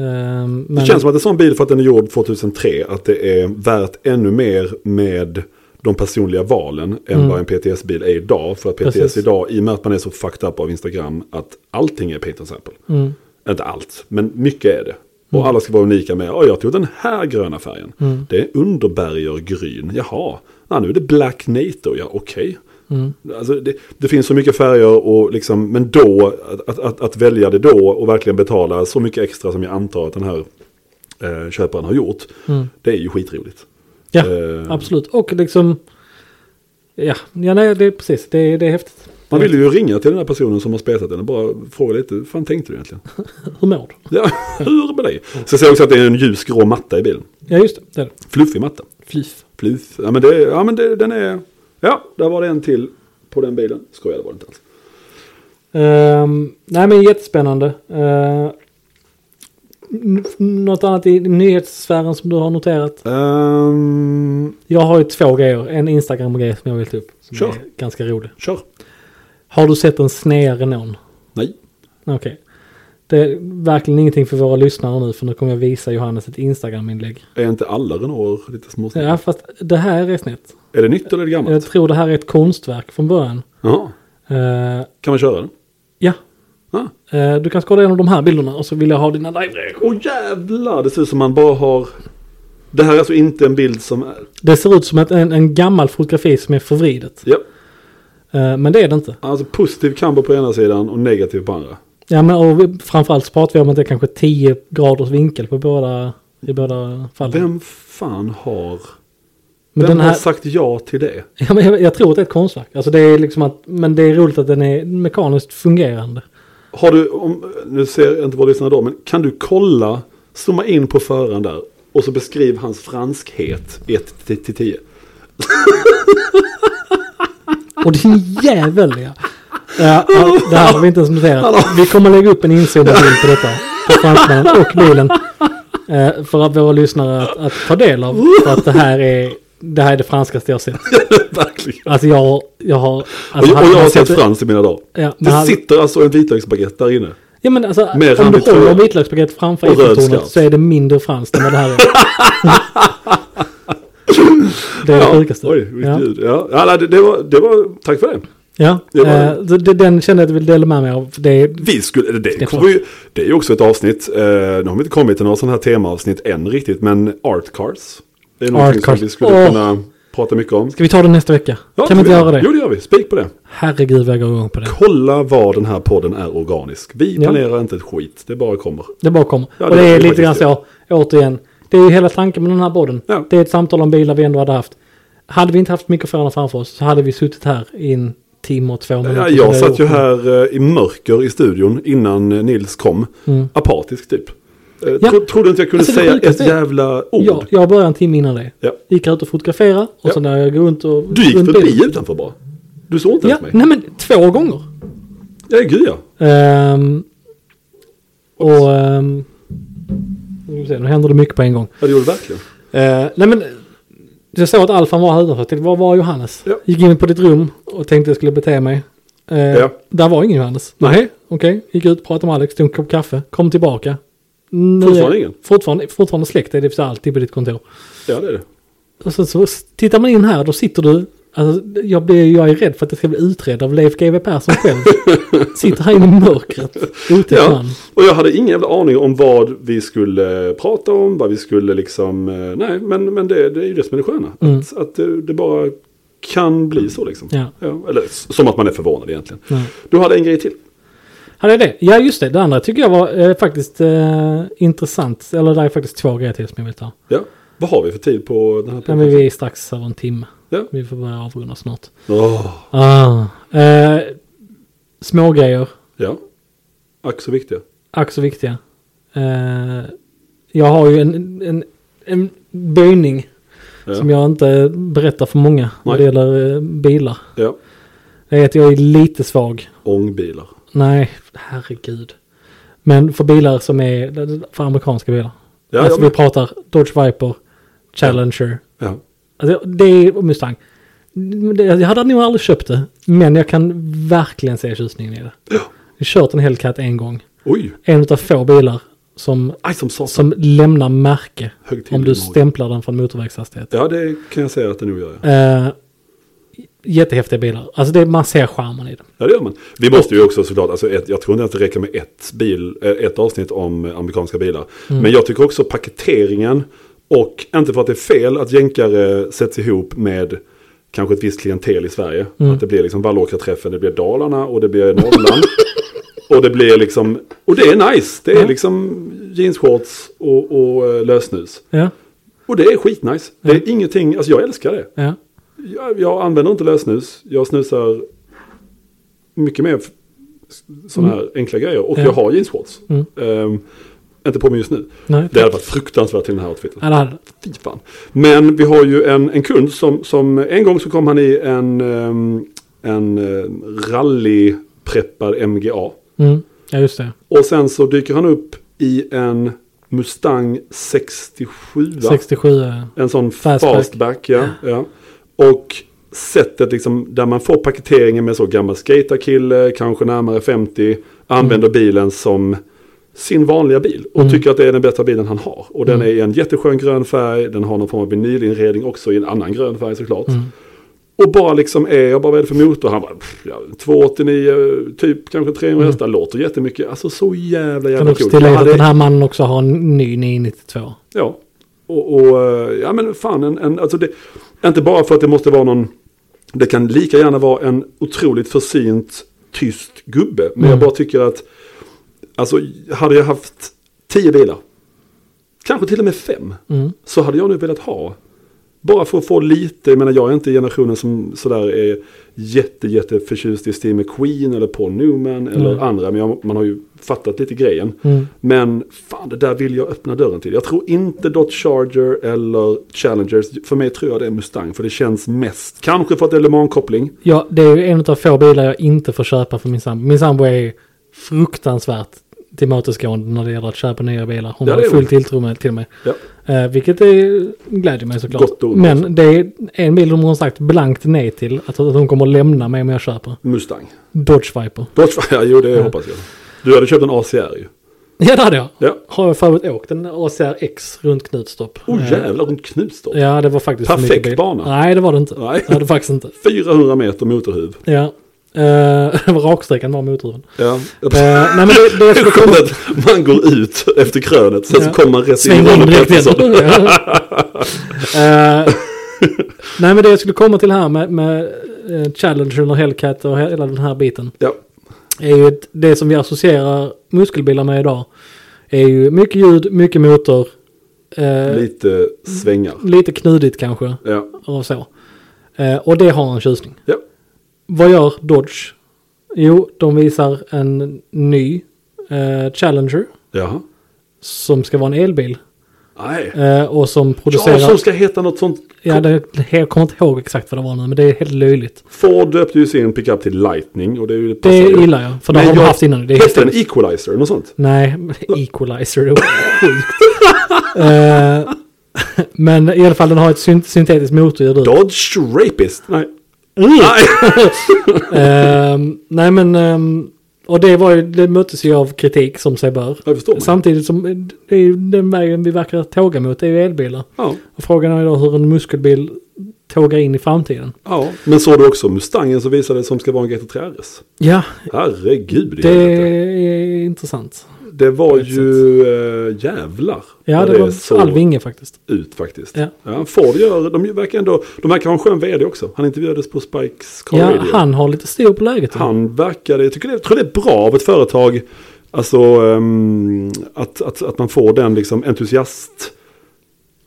Speaker 1: men,
Speaker 2: Det känns som att en sån bil för att den är gjord 2003. Att det är värt ännu mer med de personliga valen än vad en PTS-bil är idag. För att PTS
Speaker 1: Precis.
Speaker 2: idag, i och med att man är så fucked up av Instagram, att allting är paint and sample.
Speaker 1: Mm,
Speaker 2: Inte allt, men mycket är det. Och alla ska vara unika med, oh, jag tog den här gröna färgen.
Speaker 1: Mm.
Speaker 2: Det är underberger gryn, jaha. Ja, nu är det black NATO, ja okej.
Speaker 1: Mm.
Speaker 2: Alltså, det, det finns så mycket färger, och liksom, men då, att, att, att välja det då och verkligen betala så mycket extra som jag antar att den här eh, köparen har gjort.
Speaker 1: Mm.
Speaker 2: Det är ju skitroligt.
Speaker 1: ja,
Speaker 2: Eh,
Speaker 1: absolut. Och liksom... Ja, ja nej, det är precis. Det, är- det är häftigt.
Speaker 2: Man vill ju ringa till den här personen som har spetat den och bara fråga lite, hur fan tänkte du egentligen?
Speaker 1: Hur mår du?
Speaker 2: Ja, hur med dig? Så ser jag också att det är en ljusgrå matta i bilen.
Speaker 1: Ja, just det. det, är det.
Speaker 2: Fluffig matta.
Speaker 1: Flyf.
Speaker 2: Fluff. Ja men, det, ja, men det, den är... Ja, där var det en till på den bilen. Skojar, det var det inte alls.
Speaker 1: Ehm, nej men jättespännande. Uh, något annat i nyhetssfären som du har noterat?
Speaker 2: Ehm,
Speaker 1: Jag har ju två grejer. En Instagram-grej som jag vill ta upp. Som
Speaker 2: Kör.
Speaker 1: är ganska rolig.
Speaker 2: kör.
Speaker 1: Har du sett en snea Renault?
Speaker 2: Nej.
Speaker 1: Okej. Det är verkligen ingenting för våra lyssnare nu för nu kommer jag visa Johannes ett Instagram-inlägg.
Speaker 2: Är inte alla Renaulter lite småsnygga?
Speaker 1: Ja, fast det här är snett.
Speaker 2: Är det nytt eller är det gammalt?
Speaker 1: Jag tror det här är ett konstverk från början.
Speaker 2: Jaha.
Speaker 1: Eh,
Speaker 2: Kan man köra den?
Speaker 1: ja,
Speaker 2: Ah.
Speaker 1: Eh, du kan skåda igenom de här bilderna och så vill jag ha dina live
Speaker 2: Åh jävlar, det ser ut som man bara har... Det här är alltså inte en bild som är...
Speaker 1: Det ser ut som ett, en, en gammal fotografi som är förvridet.
Speaker 2: Ja,
Speaker 1: Eh, men det är det inte.
Speaker 2: alltså positiv kamber på ena sidan och negativ på andra.
Speaker 1: Ja, men och vi- framförallt så pratar vi om att det är kanske 10 graders vinkel på båda, i båda fallen.
Speaker 2: Vem fan har...
Speaker 1: men
Speaker 2: vem
Speaker 1: den här,
Speaker 2: har sagt ja till det?
Speaker 1: ja, men jag, jag tror att det är ett konstverk. Alltså det är liksom att, men det är roligt att den är mekaniskt fungerande.
Speaker 2: Har du, om, nu ser jag inte vad lyssnare då, men kan du kolla, zooma in på föraren där och så beskriv hans franskhet 1 till 10.
Speaker 1: Och din jävel ja. Ja, ja, det här har vi inte ens noterat. Vi kommer lägga upp en insidabild på detta. På fransmannen och bilen. Eh, För att våra lyssnare att, att ta del av. För att det här är det, här är det franskaste jag har sett.
Speaker 2: Verkligen.
Speaker 1: Alltså jag, jag har...
Speaker 2: Och
Speaker 1: Alltså,
Speaker 2: jag, och jag har
Speaker 1: hade-
Speaker 2: sett frans i mina dagar.
Speaker 1: Ja, men
Speaker 2: Det
Speaker 1: han-
Speaker 2: sitter alltså en vitlöksbaguette där inne.
Speaker 1: Ja men alltså
Speaker 2: Mer
Speaker 1: om du
Speaker 2: randigt
Speaker 1: håller
Speaker 2: hår.
Speaker 1: vitlöksbaguette framför
Speaker 2: Och röd
Speaker 1: Eiffeltornet
Speaker 2: skatt.
Speaker 1: så är det mindre franskt än vad det här är. det är det sjukaste.
Speaker 2: Oj, vilket
Speaker 1: ja.
Speaker 2: ljud. Ja, ja nej, det, det, var, det var, tack för det.
Speaker 1: ja.
Speaker 2: Det var-
Speaker 1: eh, så det, den kände jag att jag ville dela med mig av. för Det är,
Speaker 2: Vi skulle, eller det,
Speaker 1: Stefan.
Speaker 2: kommer ju, det är ju också ett avsnitt, eh, nu har vi inte kommit till några sådana här temaavsnitt än riktigt, men Art Cars. Det är någonting
Speaker 1: Art Cars.
Speaker 2: som vi skulle
Speaker 1: Åh.
Speaker 2: kunna prata mycket om.
Speaker 1: ska vi ta den nästa vecka?
Speaker 2: Ja,
Speaker 1: kan vi inte göra det?
Speaker 2: Jo, det gör vi. Spik på det.
Speaker 1: Herregud vad jag går igång på det.
Speaker 2: Kolla var den här podden är organisk. Vi
Speaker 1: Ja.
Speaker 2: planerar inte ett skit, det bara kommer.
Speaker 1: Det bara kommer.
Speaker 2: Ja,
Speaker 1: och
Speaker 2: det
Speaker 1: det är
Speaker 2: är
Speaker 1: lite grann
Speaker 2: faktiskt
Speaker 1: så, återigen. Det är ju hela tanken med den här podden.
Speaker 2: Ja.
Speaker 1: Det är ett samtal om bilar vi ändå hade haft. Hade vi inte haft mikrofonerna framför oss så hade vi suttit här i en timme och två minuter.
Speaker 2: Ja,
Speaker 1: som vi har
Speaker 2: jag satt ju
Speaker 1: gjort nu.
Speaker 2: här eh, i mörker i studion innan eh, Nils kom. Apatisk typ. Eh,
Speaker 1: Mm. Ja.
Speaker 2: tro, trodde inte jag kunde
Speaker 1: Alltså, det
Speaker 2: säga ett
Speaker 1: sjukaste är-
Speaker 2: jävla ord.
Speaker 1: Ja, jag började en timme innan det.
Speaker 2: Ja.
Speaker 1: Gick ut och fotograferade och
Speaker 2: Ja.
Speaker 1: så när jag går runt och...
Speaker 2: Du gick
Speaker 1: runt
Speaker 2: förbi
Speaker 1: bilen.
Speaker 2: utanför bara. Du såg inte
Speaker 1: Ja,
Speaker 2: ens mig.
Speaker 1: nej men två gånger.
Speaker 2: Ja, gud ja.
Speaker 1: Ehm, och... ehm, nu ska vi se, nu händer det mycket på en gång.
Speaker 2: Ja, det gjorde du verkligen.
Speaker 1: Eh, nej men, jag såg att Alfan var här utanför. Jag tänkte, Var var Johannes?
Speaker 2: Ja.
Speaker 1: Gick in på ditt rum och tänkte jag skulle bete mig. Eh,
Speaker 2: Ja.
Speaker 1: Där var ingen Johannes. Nej. Okej, gick ut, pratade med Alex, tog en kopp kaffe, kom tillbaka. Nu-
Speaker 2: Fortfarande ingen?
Speaker 1: Fortfarande, fortfarande släkt är det för sig alltid på ditt kontor.
Speaker 2: Ja, det är det.
Speaker 1: Och sen så tittar man in här, då sitter du... Alltså, jag, blir, jag är rädd för att jag ska bli utredd av Leif GW Persson själv. sitter här inne i mörkret. Otäckt
Speaker 2: Ja,
Speaker 1: man.
Speaker 2: och jag hade ingen jävla aning om vad vi skulle eh, prata om, vad vi skulle liksom, eh, nej, men, men det, det är ju det som är det sköna.
Speaker 1: Mm.
Speaker 2: Att, att eh, det, det bara kan bli så liksom.
Speaker 1: Ja.
Speaker 2: eller s- som att man är förvånad egentligen.
Speaker 1: Ja.
Speaker 2: Du hade en grej till.
Speaker 1: Hade jag det? Ja, just det. Det andra tycker jag var eh, faktiskt eh, intressant. Eller där är faktiskt två grejer till som jag vill ta.
Speaker 2: Ja. Vad har vi för tid på den här
Speaker 1: Ja,
Speaker 2: podden?
Speaker 1: men vi är strax över en timme.
Speaker 2: Ja.
Speaker 1: Vi får börja avrunda snart.
Speaker 2: Åh,
Speaker 1: Ah. Eh, små grejer.
Speaker 2: ja. Ack så viktiga.
Speaker 1: Ack så viktiga. Eh, jag har ju en, en, en böjning
Speaker 2: Ja.
Speaker 1: som jag inte berättar för många när det
Speaker 2: Nej.
Speaker 1: gäller eh, bilar.
Speaker 2: ja.
Speaker 1: Det är att jag är lite svag.
Speaker 2: Ångbilar.
Speaker 1: Nej, herregud. Men för bilar som är, för amerikanska bilar.
Speaker 2: Ja,
Speaker 1: alltså
Speaker 2: ja, men-
Speaker 1: vi pratar Dodge Viper, Challenger.
Speaker 2: Ja.
Speaker 1: Alltså, det är och Mustang. Det- Jag hade nog aldrig köpt det, men jag kan verkligen se tjusningen i det. Jag har kört en Hellcat en gång.
Speaker 2: Oj,
Speaker 1: En av få bilar som,
Speaker 2: aj som satan.
Speaker 1: som lämnar märke
Speaker 2: Högtidlig
Speaker 1: om du
Speaker 2: mage.
Speaker 1: stämplar den från motorvägshastighet.
Speaker 2: Ja, det kan jag säga att det nog gör. Ja,
Speaker 1: Eh, jättehäftiga bilar. Alltså det, man ser charmen i det.
Speaker 2: ja det gör man. Vi måste ju också såklart, alltså ett, jag tror inte att det räcker med ett, bil, eh, ett avsnitt om eh, amerikanska bilar. Men jag tycker också paketeringen och inte för att det är fel att jänkare sätts ihop med kanske ett visst klientel i Sverige. Att det blir liksom Vallåkra-träffen, det blir Dalarna och det blir Norrland. och det blir liksom, och det är nice. Det är
Speaker 1: Ja.
Speaker 2: liksom jeansshorts och, och eh, lössnus.
Speaker 1: Ja,
Speaker 2: Och det är skitnice. Det är ingenting, alltså jag älskar det.
Speaker 1: ja.
Speaker 2: Jag, jag använder inte lösnus. Jag snusar mycket mer sådana här enkla grejer. Och
Speaker 1: Mm. Ja. Mm.
Speaker 2: jag har jeansshorts. Ehm, inte på mig just nu.
Speaker 1: Nej.
Speaker 2: Det hade varit fruktansvärt till den här outfiten.
Speaker 1: Ja, det hade det.
Speaker 2: Fy fan. Men vi har ju en, en kund som, som en gång så kom han i en, ehm, en ehm, rallypreppad MGA.
Speaker 1: Mm. Ja, just det.
Speaker 2: Och sen så dyker han upp i en Mustang 67. va?
Speaker 1: 67. eh,
Speaker 2: En sån
Speaker 1: Fastback.
Speaker 2: fastback, ja, ja. Och sättet liksom, där man får paketeringen med så gammal skaterkille, kanske närmare 50, använder bilen som sin vanliga bil och
Speaker 1: Mm.
Speaker 2: tycker att det är den bästa bilen han har. Och den
Speaker 1: Mm.
Speaker 2: är i en jätteskön grön färg, den har någon form av vinylinredning också i en annan grön färg såklart.
Speaker 1: Mm.
Speaker 2: Och bara liksom är, jag bara vad är det för motor? Han bara, pff, ja, 289, typ kanske 300
Speaker 1: Mm.
Speaker 2: hästar, låter jättemycket. Alltså så jävla
Speaker 1: Kan
Speaker 2: jävla
Speaker 1: också
Speaker 2: coolt.
Speaker 1: tillägga
Speaker 2: Jag
Speaker 1: att
Speaker 2: hade-
Speaker 1: den här mannen också har en ny 992.
Speaker 2: Ja, och, och eh, ja men fan, en, en, alltså det, inte bara för att det måste vara någon, det kan lika gärna vara en otroligt försint tyst gubbe, men
Speaker 1: Mm.
Speaker 2: jag bara tycker att, alltså hade jag haft tio bilar, kanske till och med fem,
Speaker 1: Mm.
Speaker 2: så hade jag nu velat ha. Bara för att få lite, jag menar jag är inte generationen som sådär är jätte, jätte förtjust i Steve McQueen eller Paul Newman eller
Speaker 1: Mm.
Speaker 2: andra, men jag, man har ju fattat lite grejen.
Speaker 1: Mm.
Speaker 2: Men fan, det där vill jag öppna dörren till. Jag tror inte Dodge Charger eller Challengers. För mig tror jag det är Mustang, för det känns mest. Kanske för att det är Le Mans-koppling.
Speaker 1: Ja, det är ju en av få bilar jag inte får köpa för min sambo. Min sambo är fruktansvärt tillmötesgående när det gäller att köpa nya bilar. Hon
Speaker 2: Ja,
Speaker 1: har
Speaker 2: det är
Speaker 1: full
Speaker 2: hon.
Speaker 1: tilltro med, till mig.
Speaker 2: Ja.
Speaker 1: Eh, vilket är, glädjer mig såklart.
Speaker 2: Gott alltså. och ont.
Speaker 1: Men det är en bil de har sagt blankt nej till. Att, att de kommer att lämna mig om jag köper.
Speaker 2: Mustang.
Speaker 1: Dodge Viper.
Speaker 2: Dodge, ja, jo det
Speaker 1: Ja.
Speaker 2: hoppas jag. Du hade köpt en ACR ju.
Speaker 1: Ja, det hade jag.
Speaker 2: Ja.
Speaker 1: Har jag förut åkt en ACR X runt Knutstorp.
Speaker 2: Oh
Speaker 1: Eh,
Speaker 2: jävlar, runt Knutstorp.
Speaker 1: Ja, det var faktiskt för
Speaker 2: Perfekt
Speaker 1: mycket bil.
Speaker 2: bana.
Speaker 1: Nej, det var det inte.
Speaker 2: Nej.
Speaker 1: Det var det faktiskt inte.
Speaker 2: 400 meter motorhuv.
Speaker 1: Ja. Eh, det var raksträckan var motorhuven.
Speaker 2: Ja.
Speaker 1: Eh, nej, men det, det är
Speaker 2: Det är skönt att man går ut efter krönet, sen
Speaker 1: Ja.
Speaker 2: så kommer man rätt in i
Speaker 1: Sväng om
Speaker 2: Ronny
Speaker 1: direkt igen.
Speaker 2: Pettersson.
Speaker 1: Eh, Nej men det jag skulle komma till här med, med eh, Challenger och Hellcat och hela den här biten.
Speaker 2: Ja.
Speaker 1: Är ju ett- det som vi associerar muskelbilar med idag. Är ju mycket ljud, mycket motor. eh,
Speaker 2: Lite svängar.
Speaker 1: lite knudigt kanske.
Speaker 2: Ja.
Speaker 1: Och så. Eh, och det har en tjusning.
Speaker 2: Ja.
Speaker 1: Vad gör Dodge? Jo, de visar en ny eh, Challenger.
Speaker 2: Jaha.
Speaker 1: Som ska vara en elbil.
Speaker 2: Nej.
Speaker 1: Eh, och som producerar...
Speaker 2: Ja, som ska heta något sånt.
Speaker 1: Ja, det, jag kommer inte ihåg exakt vad det var nu, men det är helt löjligt.
Speaker 2: Ford döpte ju sin pickup till Lightning och det är ju
Speaker 1: Det
Speaker 2: passar ju.
Speaker 1: gillar Alltså, jag, för det
Speaker 2: Men
Speaker 1: har de
Speaker 2: jag-
Speaker 1: haft innan. Det är
Speaker 2: Hette
Speaker 1: helt...
Speaker 2: den Equalizer? Något sånt?
Speaker 1: Nej, equalizer, det var sjukt. Eh, men i alla fall, den har ett synt syntetiskt motorljud. ut.
Speaker 2: Dodge Rapist? Nej.
Speaker 1: Ugh!
Speaker 2: Nej.
Speaker 1: Ehm, nej, men... ehm, och det, var ju, det möttes ju av kritik som sig bör.
Speaker 2: Jag förstår. Mig.
Speaker 1: Samtidigt som det är ju den vägen vi verkar tåga mot, det är ju elbilar.
Speaker 2: Ja,
Speaker 1: Och frågan är då hur en muskelbil tågar in i framtiden.
Speaker 2: ja. Men såg du också Mustangen som visade som ska vara en GT3 RS?
Speaker 1: Ja,
Speaker 2: Herregud.
Speaker 1: det
Speaker 2: Det,
Speaker 1: är intressant.
Speaker 2: det var
Speaker 1: på ett
Speaker 2: ju äh, jävlar.
Speaker 1: Ja,
Speaker 2: vad
Speaker 1: det var
Speaker 2: såg
Speaker 1: all vinge faktiskt.
Speaker 2: ut faktiskt.
Speaker 1: Ja.
Speaker 2: Ja. Ford gör, de verkar ändå, de verkar ha en skön vd också. Han intervjuades på Spikes Car
Speaker 1: Ja,
Speaker 2: Radio.
Speaker 1: han har lite styr på läget. va?
Speaker 2: Han verkade, jag tycker det, jag tror det är bra av ett företag alltså, ehm, att, att, att man får den liksom entusiast...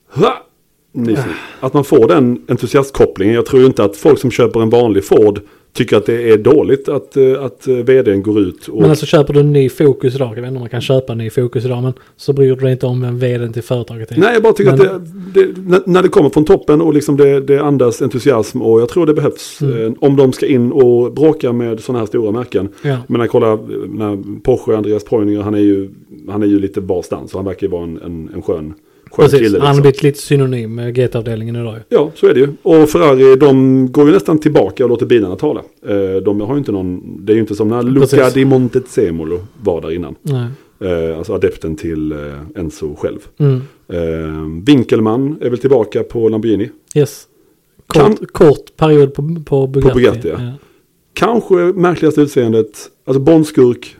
Speaker 2: Ha! Nyfiken.
Speaker 1: Ah.
Speaker 2: Att man får den entusiastkopplingen. Jag tror ju inte att folk som köper en vanlig Ford tycker att det är dåligt att, eh, att eh, vdn går ut och...
Speaker 1: Men alltså köper du en ny Focus idag, jag vet inte om man kan köpa en ny Focus idag, men så bryr du dig inte om vem vdn till företaget är.
Speaker 2: Nej, jag bara tycker
Speaker 1: Men-
Speaker 2: att det, det, när- när det kommer från toppen och liksom det, det andas entusiasm och jag tror det behövs
Speaker 1: Mm.
Speaker 2: eh, om de ska in och bråka med sådana här stora märken.
Speaker 1: Ja.
Speaker 2: Men när jag kollar när Porsche, Andreas Preuninger, han är ju, han är ju lite varstans. Så han verkar ju vara en, en, en skön, skön
Speaker 1: Precis,
Speaker 2: kille.
Speaker 1: han har
Speaker 2: Liksom.
Speaker 1: blivit lite synonym med GT-avdelningen idag. ju.
Speaker 2: Ja, så är det ju. Och Ferrari, de går ju nästan tillbaka och låter bilarna tala. Eh, De har ju inte någon, det är ju inte som när Luca
Speaker 1: Precis.
Speaker 2: di Montezemolo var där innan.
Speaker 1: Nej.
Speaker 2: Eh, Alltså adepten till eh, Enzo själv.
Speaker 1: Mm.
Speaker 2: Eh, Winkelmann är väl tillbaka på Lamborghini.
Speaker 1: Yes. Kort,
Speaker 2: Kan-
Speaker 1: kort period på, på Bugatti.
Speaker 2: Bugatti, ja.
Speaker 1: ja.
Speaker 2: Kanske märkligaste utseendet, alltså Bondskurk.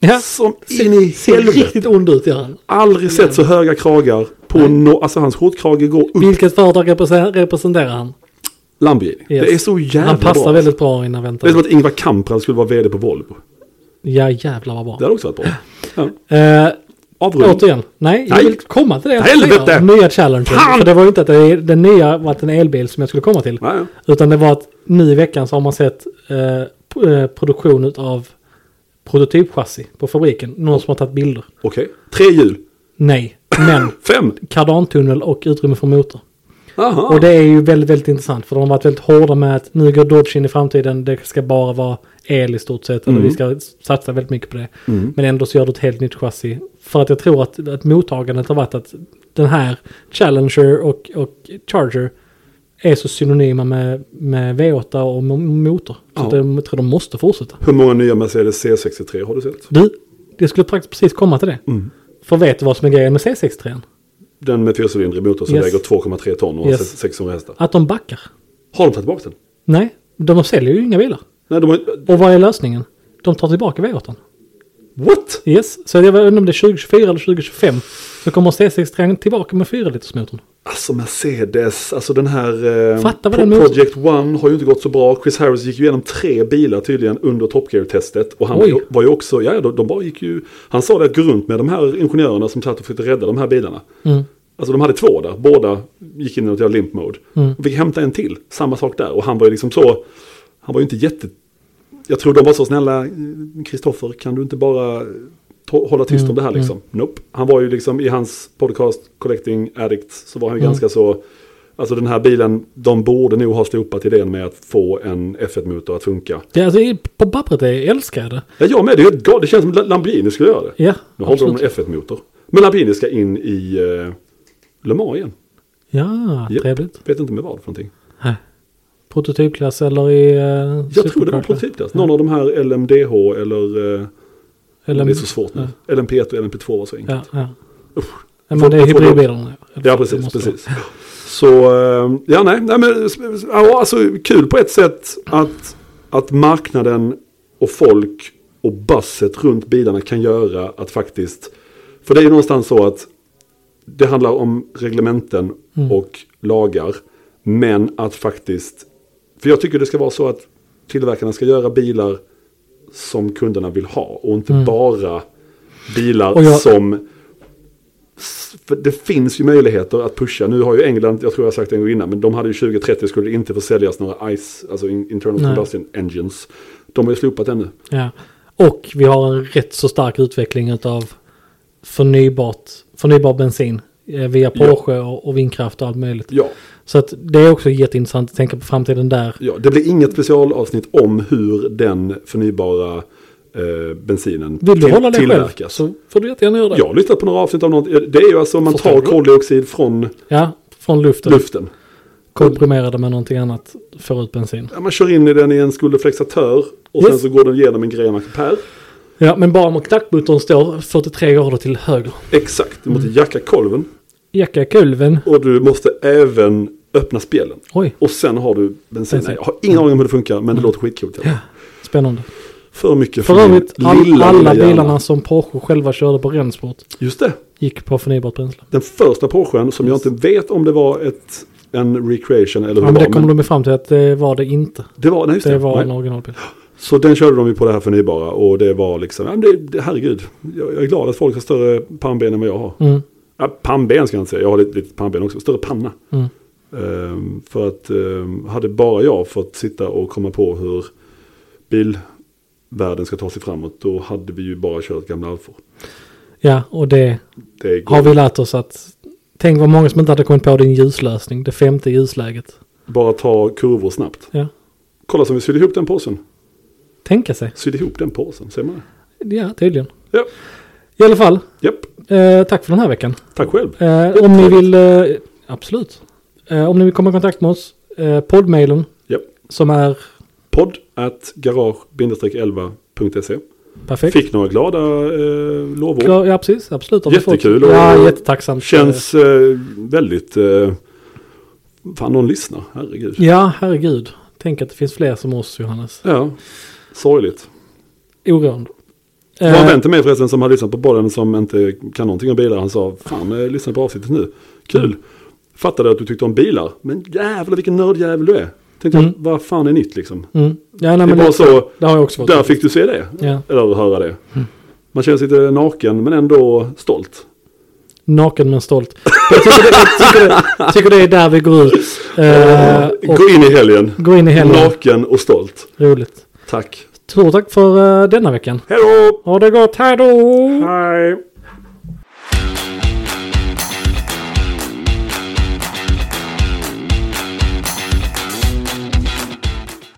Speaker 1: ja.
Speaker 2: Som in
Speaker 1: Ser,
Speaker 2: i
Speaker 1: ser
Speaker 2: helvete.
Speaker 1: riktigt ond ut gör han.
Speaker 2: Aldrig sett så höga kragar på no, alltså hans skjortkrage går upp.
Speaker 1: Vilket företag represe- representerar han?
Speaker 2: Lamborghini.
Speaker 1: Yes.
Speaker 2: Det är så jävla
Speaker 1: Han passar
Speaker 2: bra.
Speaker 1: väldigt bra innan
Speaker 2: Det är som
Speaker 1: väntan.
Speaker 2: att Ingvar Kamprad skulle vara vd på Volvo.
Speaker 1: Ja jävlar vad bra.
Speaker 2: Det hade också varit bra. Ja.
Speaker 1: Eh,
Speaker 2: Avrund.
Speaker 1: Återigen, nej, jag
Speaker 2: Nej.
Speaker 1: vill komma till det. jag
Speaker 2: Helvete!
Speaker 1: ska säga. Nya challenger.
Speaker 2: Fan!
Speaker 1: För det var ju inte att det, den nya var att en elbil som jag skulle komma till.
Speaker 2: Nej,
Speaker 1: Utan det var att nu i veckan så har man sett eh, p- eh, produktion av prototypchassi på fabriken. Någon som har tagit bilder.
Speaker 2: okej. Tre hjul.
Speaker 1: Nej, men
Speaker 2: Fem.
Speaker 1: kardantunnel och utrymme för motor.
Speaker 2: Aha.
Speaker 1: Och det är ju väldigt, väldigt intressant. För de har varit väldigt hårda med att nu går Dodge in i framtiden. Det ska bara vara el i stort sett. Eller
Speaker 2: Mm.
Speaker 1: vi ska satsa väldigt mycket på det. Men ändå så gör du ett helt nytt chassi. För att jag tror att, att mottagandet har varit att den här Challenger och, och Charger är så synonyma med, med V8 och mo- motor. Så
Speaker 2: Ja.
Speaker 1: att jag tror de måste fortsätta.
Speaker 2: Hur många nya Mercedes C63 har du sett?
Speaker 1: Du, Jag skulle faktiskt precis komma till det.
Speaker 2: Mm.
Speaker 1: För vet du vad som är grejen med C63?
Speaker 2: Den med fyrcylindrig motor som
Speaker 1: Yes.
Speaker 2: väger 2,3 ton och har
Speaker 1: Yes.
Speaker 2: 600 hästar.
Speaker 1: Att de backar.
Speaker 2: Har de tagit tillbaka den?
Speaker 1: Nej, de säljer ju inga bilar.
Speaker 2: Nej, de har
Speaker 1: Och vad är lösningen? De tar tillbaka V8.
Speaker 2: What?
Speaker 1: Yes, så jag vet inte om det är 2024 eller 2025 så kommer C63 tillbaka med 4-litersmotorn.
Speaker 2: Alltså Mercedes, alltså den här... Eh,
Speaker 1: Fatta vad
Speaker 2: Pro-
Speaker 1: den motorn-
Speaker 2: Project One har ju inte gått så bra. Chris Harris gick ju igenom tre bilar tydligen under Top Gear-testet. Och han
Speaker 1: Oj.
Speaker 2: var ju- var ju också, ja ja, de, de bara gick ju... Han sa det att gå runt med de här ingenjörerna som satt och försökte rädda de här bilarna.
Speaker 1: Mm.
Speaker 2: Alltså de hade två där, båda gick in i något jävla limp mode.
Speaker 1: Mm.
Speaker 2: Och fick hämta en till, samma sak där. Och han var ju liksom så, han var ju inte jätte... Jag tror de var så snälla, Kristoffer, kan du inte bara to- hålla tyst
Speaker 1: Mm,
Speaker 2: om det här liksom? Nope. Han var ju liksom i hans podcast Collecting Addicts så var
Speaker 1: Mm.
Speaker 2: han ju ganska så... Alltså den här bilen, de borde nog ha slopat idén med att få en F1-motor att funka.
Speaker 1: Det är alltså i- på pappret, är- jag älskar det.
Speaker 2: Ja, jag med, det, är ju ett gal- det känns som La- Lamborghini skulle göra det.
Speaker 1: Ja,
Speaker 2: nu har inte de en
Speaker 1: absolut.
Speaker 2: F1-motor. Men Lamborghini ska in i eh, Le Mans igen.
Speaker 1: Ja,
Speaker 2: Japp.
Speaker 1: trevligt.
Speaker 2: Vet inte med vad för någonting.
Speaker 1: Nej. Prototypklass eller i... eh,
Speaker 2: Jag tror det var
Speaker 1: supercar-klass.
Speaker 2: prototypklass. Någon av de här LMDH eller... Eh,
Speaker 1: Eller-
Speaker 2: det är så svårt nu. LMP1 och LMP2 var så enkelt.
Speaker 1: Ja, ja.
Speaker 2: Usch.
Speaker 1: Men
Speaker 2: Får-
Speaker 1: det är
Speaker 2: får- får-
Speaker 1: hybridbilarna.
Speaker 2: Ja, precis.
Speaker 1: Måste
Speaker 2: precis. Så, eh, ja nej, nej men ja, alltså, kul på ett sätt att, att marknaden och folk och basset runt bilarna kan göra att faktiskt, för det är ju någonstans så att det handlar om reglementen
Speaker 1: Mm.
Speaker 2: och lagar, men att faktiskt, för jag tycker det ska vara så att tillverkarna ska göra bilar som kunderna vill ha och inte bara bilar
Speaker 1: Mm. Och jag-
Speaker 2: som för det finns ju möjligheter att pusha. Nu har ju England, jag tror jag har sagt det en gång innan, men de hade ju 2030 skulle det inte få säljas några ICE, alltså in- internal
Speaker 1: Nej.
Speaker 2: combustion engines. De har ju slopat den nu.
Speaker 1: Ja. Och vi har en rätt så stark utveckling av förnybart, förnybar bensin eh, via Porsche och, och vindkraft och allt möjligt.
Speaker 2: Ja,
Speaker 1: Så att det är också jätteintressant att tänka på framtiden där.
Speaker 2: ja, det blir inget specialavsnitt om hur den förnybara eh, bensinen
Speaker 1: Vill du
Speaker 2: till-
Speaker 1: hålla det själv
Speaker 2: tillverkas.
Speaker 1: så får du jättegärna göra det.
Speaker 2: Jag har lyssnat på några avsnitt av något. Det är ju alltså om man
Speaker 1: Förstår
Speaker 2: tar
Speaker 1: du?
Speaker 2: koldioxid från
Speaker 1: Ja, från luften.
Speaker 2: luften.
Speaker 1: Komprimerade med någonting annat. Får ut bensin.
Speaker 2: Ja, man kör in i den i en skulderflexatör och
Speaker 1: Yes.
Speaker 2: sen så går den igenom en grej man kan pär.
Speaker 1: Ja, men bara om knackmotorn står 43 grader till höger.
Speaker 2: Exakt, du måste jacka kolven
Speaker 1: Jacka kulven.
Speaker 2: och du måste även öppna spelen.
Speaker 1: Oj,
Speaker 2: Och sen har du bensin.
Speaker 1: Bensin.
Speaker 2: Nej, jag har ingen aning om hur det funkar, men det låter skitcoolt. Ja.
Speaker 1: spännande.
Speaker 2: För mycket
Speaker 1: För
Speaker 2: min
Speaker 1: övrigt, all,
Speaker 2: lilla,
Speaker 1: alla
Speaker 2: lilla hjärna.
Speaker 1: bilarna som Porsche själva körde på Rensport
Speaker 2: Just det.
Speaker 1: gick på förnybart bränsle.
Speaker 2: Den första Porschen som jag inte vet om det var ett, en recreation eller
Speaker 1: Ja,
Speaker 2: hur
Speaker 1: men
Speaker 2: det
Speaker 1: det
Speaker 2: var.
Speaker 1: kommer
Speaker 2: Men
Speaker 1: de ju fram till att det var det inte.
Speaker 2: det var, nej, just det.
Speaker 1: Det var en
Speaker 2: nej.
Speaker 1: originalbil.
Speaker 2: Så den körde de ju på det här förnybara och det var liksom, ja, men det, det, herregud. Jag, jag är glad att folk har större pannben än vad jag har.
Speaker 1: Mm.
Speaker 2: Ja, pannben ska jag inte säga, jag har lite, lite pannben också. Större panna.
Speaker 1: Mm.
Speaker 2: Ehm, för att ehm, hade bara jag fått sitta och komma på hur bilvärlden ska ta sig framåt då hade vi ju bara kört gamla Alfor.
Speaker 1: Ja, och det
Speaker 2: Det går
Speaker 1: har vi lärt oss att tänk vad många som inte hade kommit på din ljuslösning, det femte ljusläget.
Speaker 2: bara ta kurvor snabbt.
Speaker 1: Ja,
Speaker 2: Kolla som vi sydde ihop den påsen.
Speaker 1: tänka sig.
Speaker 2: Sydde ihop den påsen, ser man det?
Speaker 1: Ja, tydligen.
Speaker 2: Ja,
Speaker 1: I alla fall,
Speaker 2: japp.
Speaker 1: eh, tack för den här veckan.
Speaker 2: Tack själv.
Speaker 1: Eh, om ni vill, eh, absolut. Eh, om ni vill komma i kontakt med oss, eh, poddmailen
Speaker 2: Japp.
Speaker 1: som är
Speaker 2: Podd at garage-11.se.
Speaker 1: perfekt.
Speaker 2: Fick några glada eh, lovord.
Speaker 1: Ja, ja, precis. Absolut. Har vi fått-
Speaker 2: Jättekul och-
Speaker 1: Ja, jättetacksamt.
Speaker 2: Känns eh, väldigt... Eh, fan, någon lyssnar. Herregud.
Speaker 1: Ja, herregud. Tänk att det finns fler som oss, Johannes.
Speaker 2: Ja, sorgligt.
Speaker 1: Oroande.
Speaker 2: Det var en
Speaker 1: Eh,
Speaker 2: vän till mig förresten som har lyssnat på podden som inte kan någonting om bilar. Han sa, fan eh, lyssna på avsnittet nu. Kul. Fattade att du tyckte om bilar. Men jävlar vilken nördjävel du är. Tänkte
Speaker 1: Mm.
Speaker 2: jag, vad fan är nytt liksom?
Speaker 1: Mm. Ja, nej,
Speaker 2: Det är
Speaker 1: men
Speaker 2: bara
Speaker 1: det,
Speaker 2: så,
Speaker 1: det har jag också varit.
Speaker 2: där fick du se det.
Speaker 1: Ja.
Speaker 2: Eller höra det.
Speaker 1: Mm.
Speaker 2: Man känner sig lite naken men ändå stolt.
Speaker 1: Naken men stolt. Jag tycker det, jag tycker det, tycker det är där vi går ut. Eh, och
Speaker 2: Gå in i helgen.
Speaker 1: gå in i helgen.
Speaker 2: Naken och stolt.
Speaker 1: Roligt.
Speaker 2: Tack.
Speaker 1: Stort tack för eh, denna veckan.
Speaker 2: Hej då!
Speaker 1: Ha det gott. Hej då!
Speaker 2: Hej!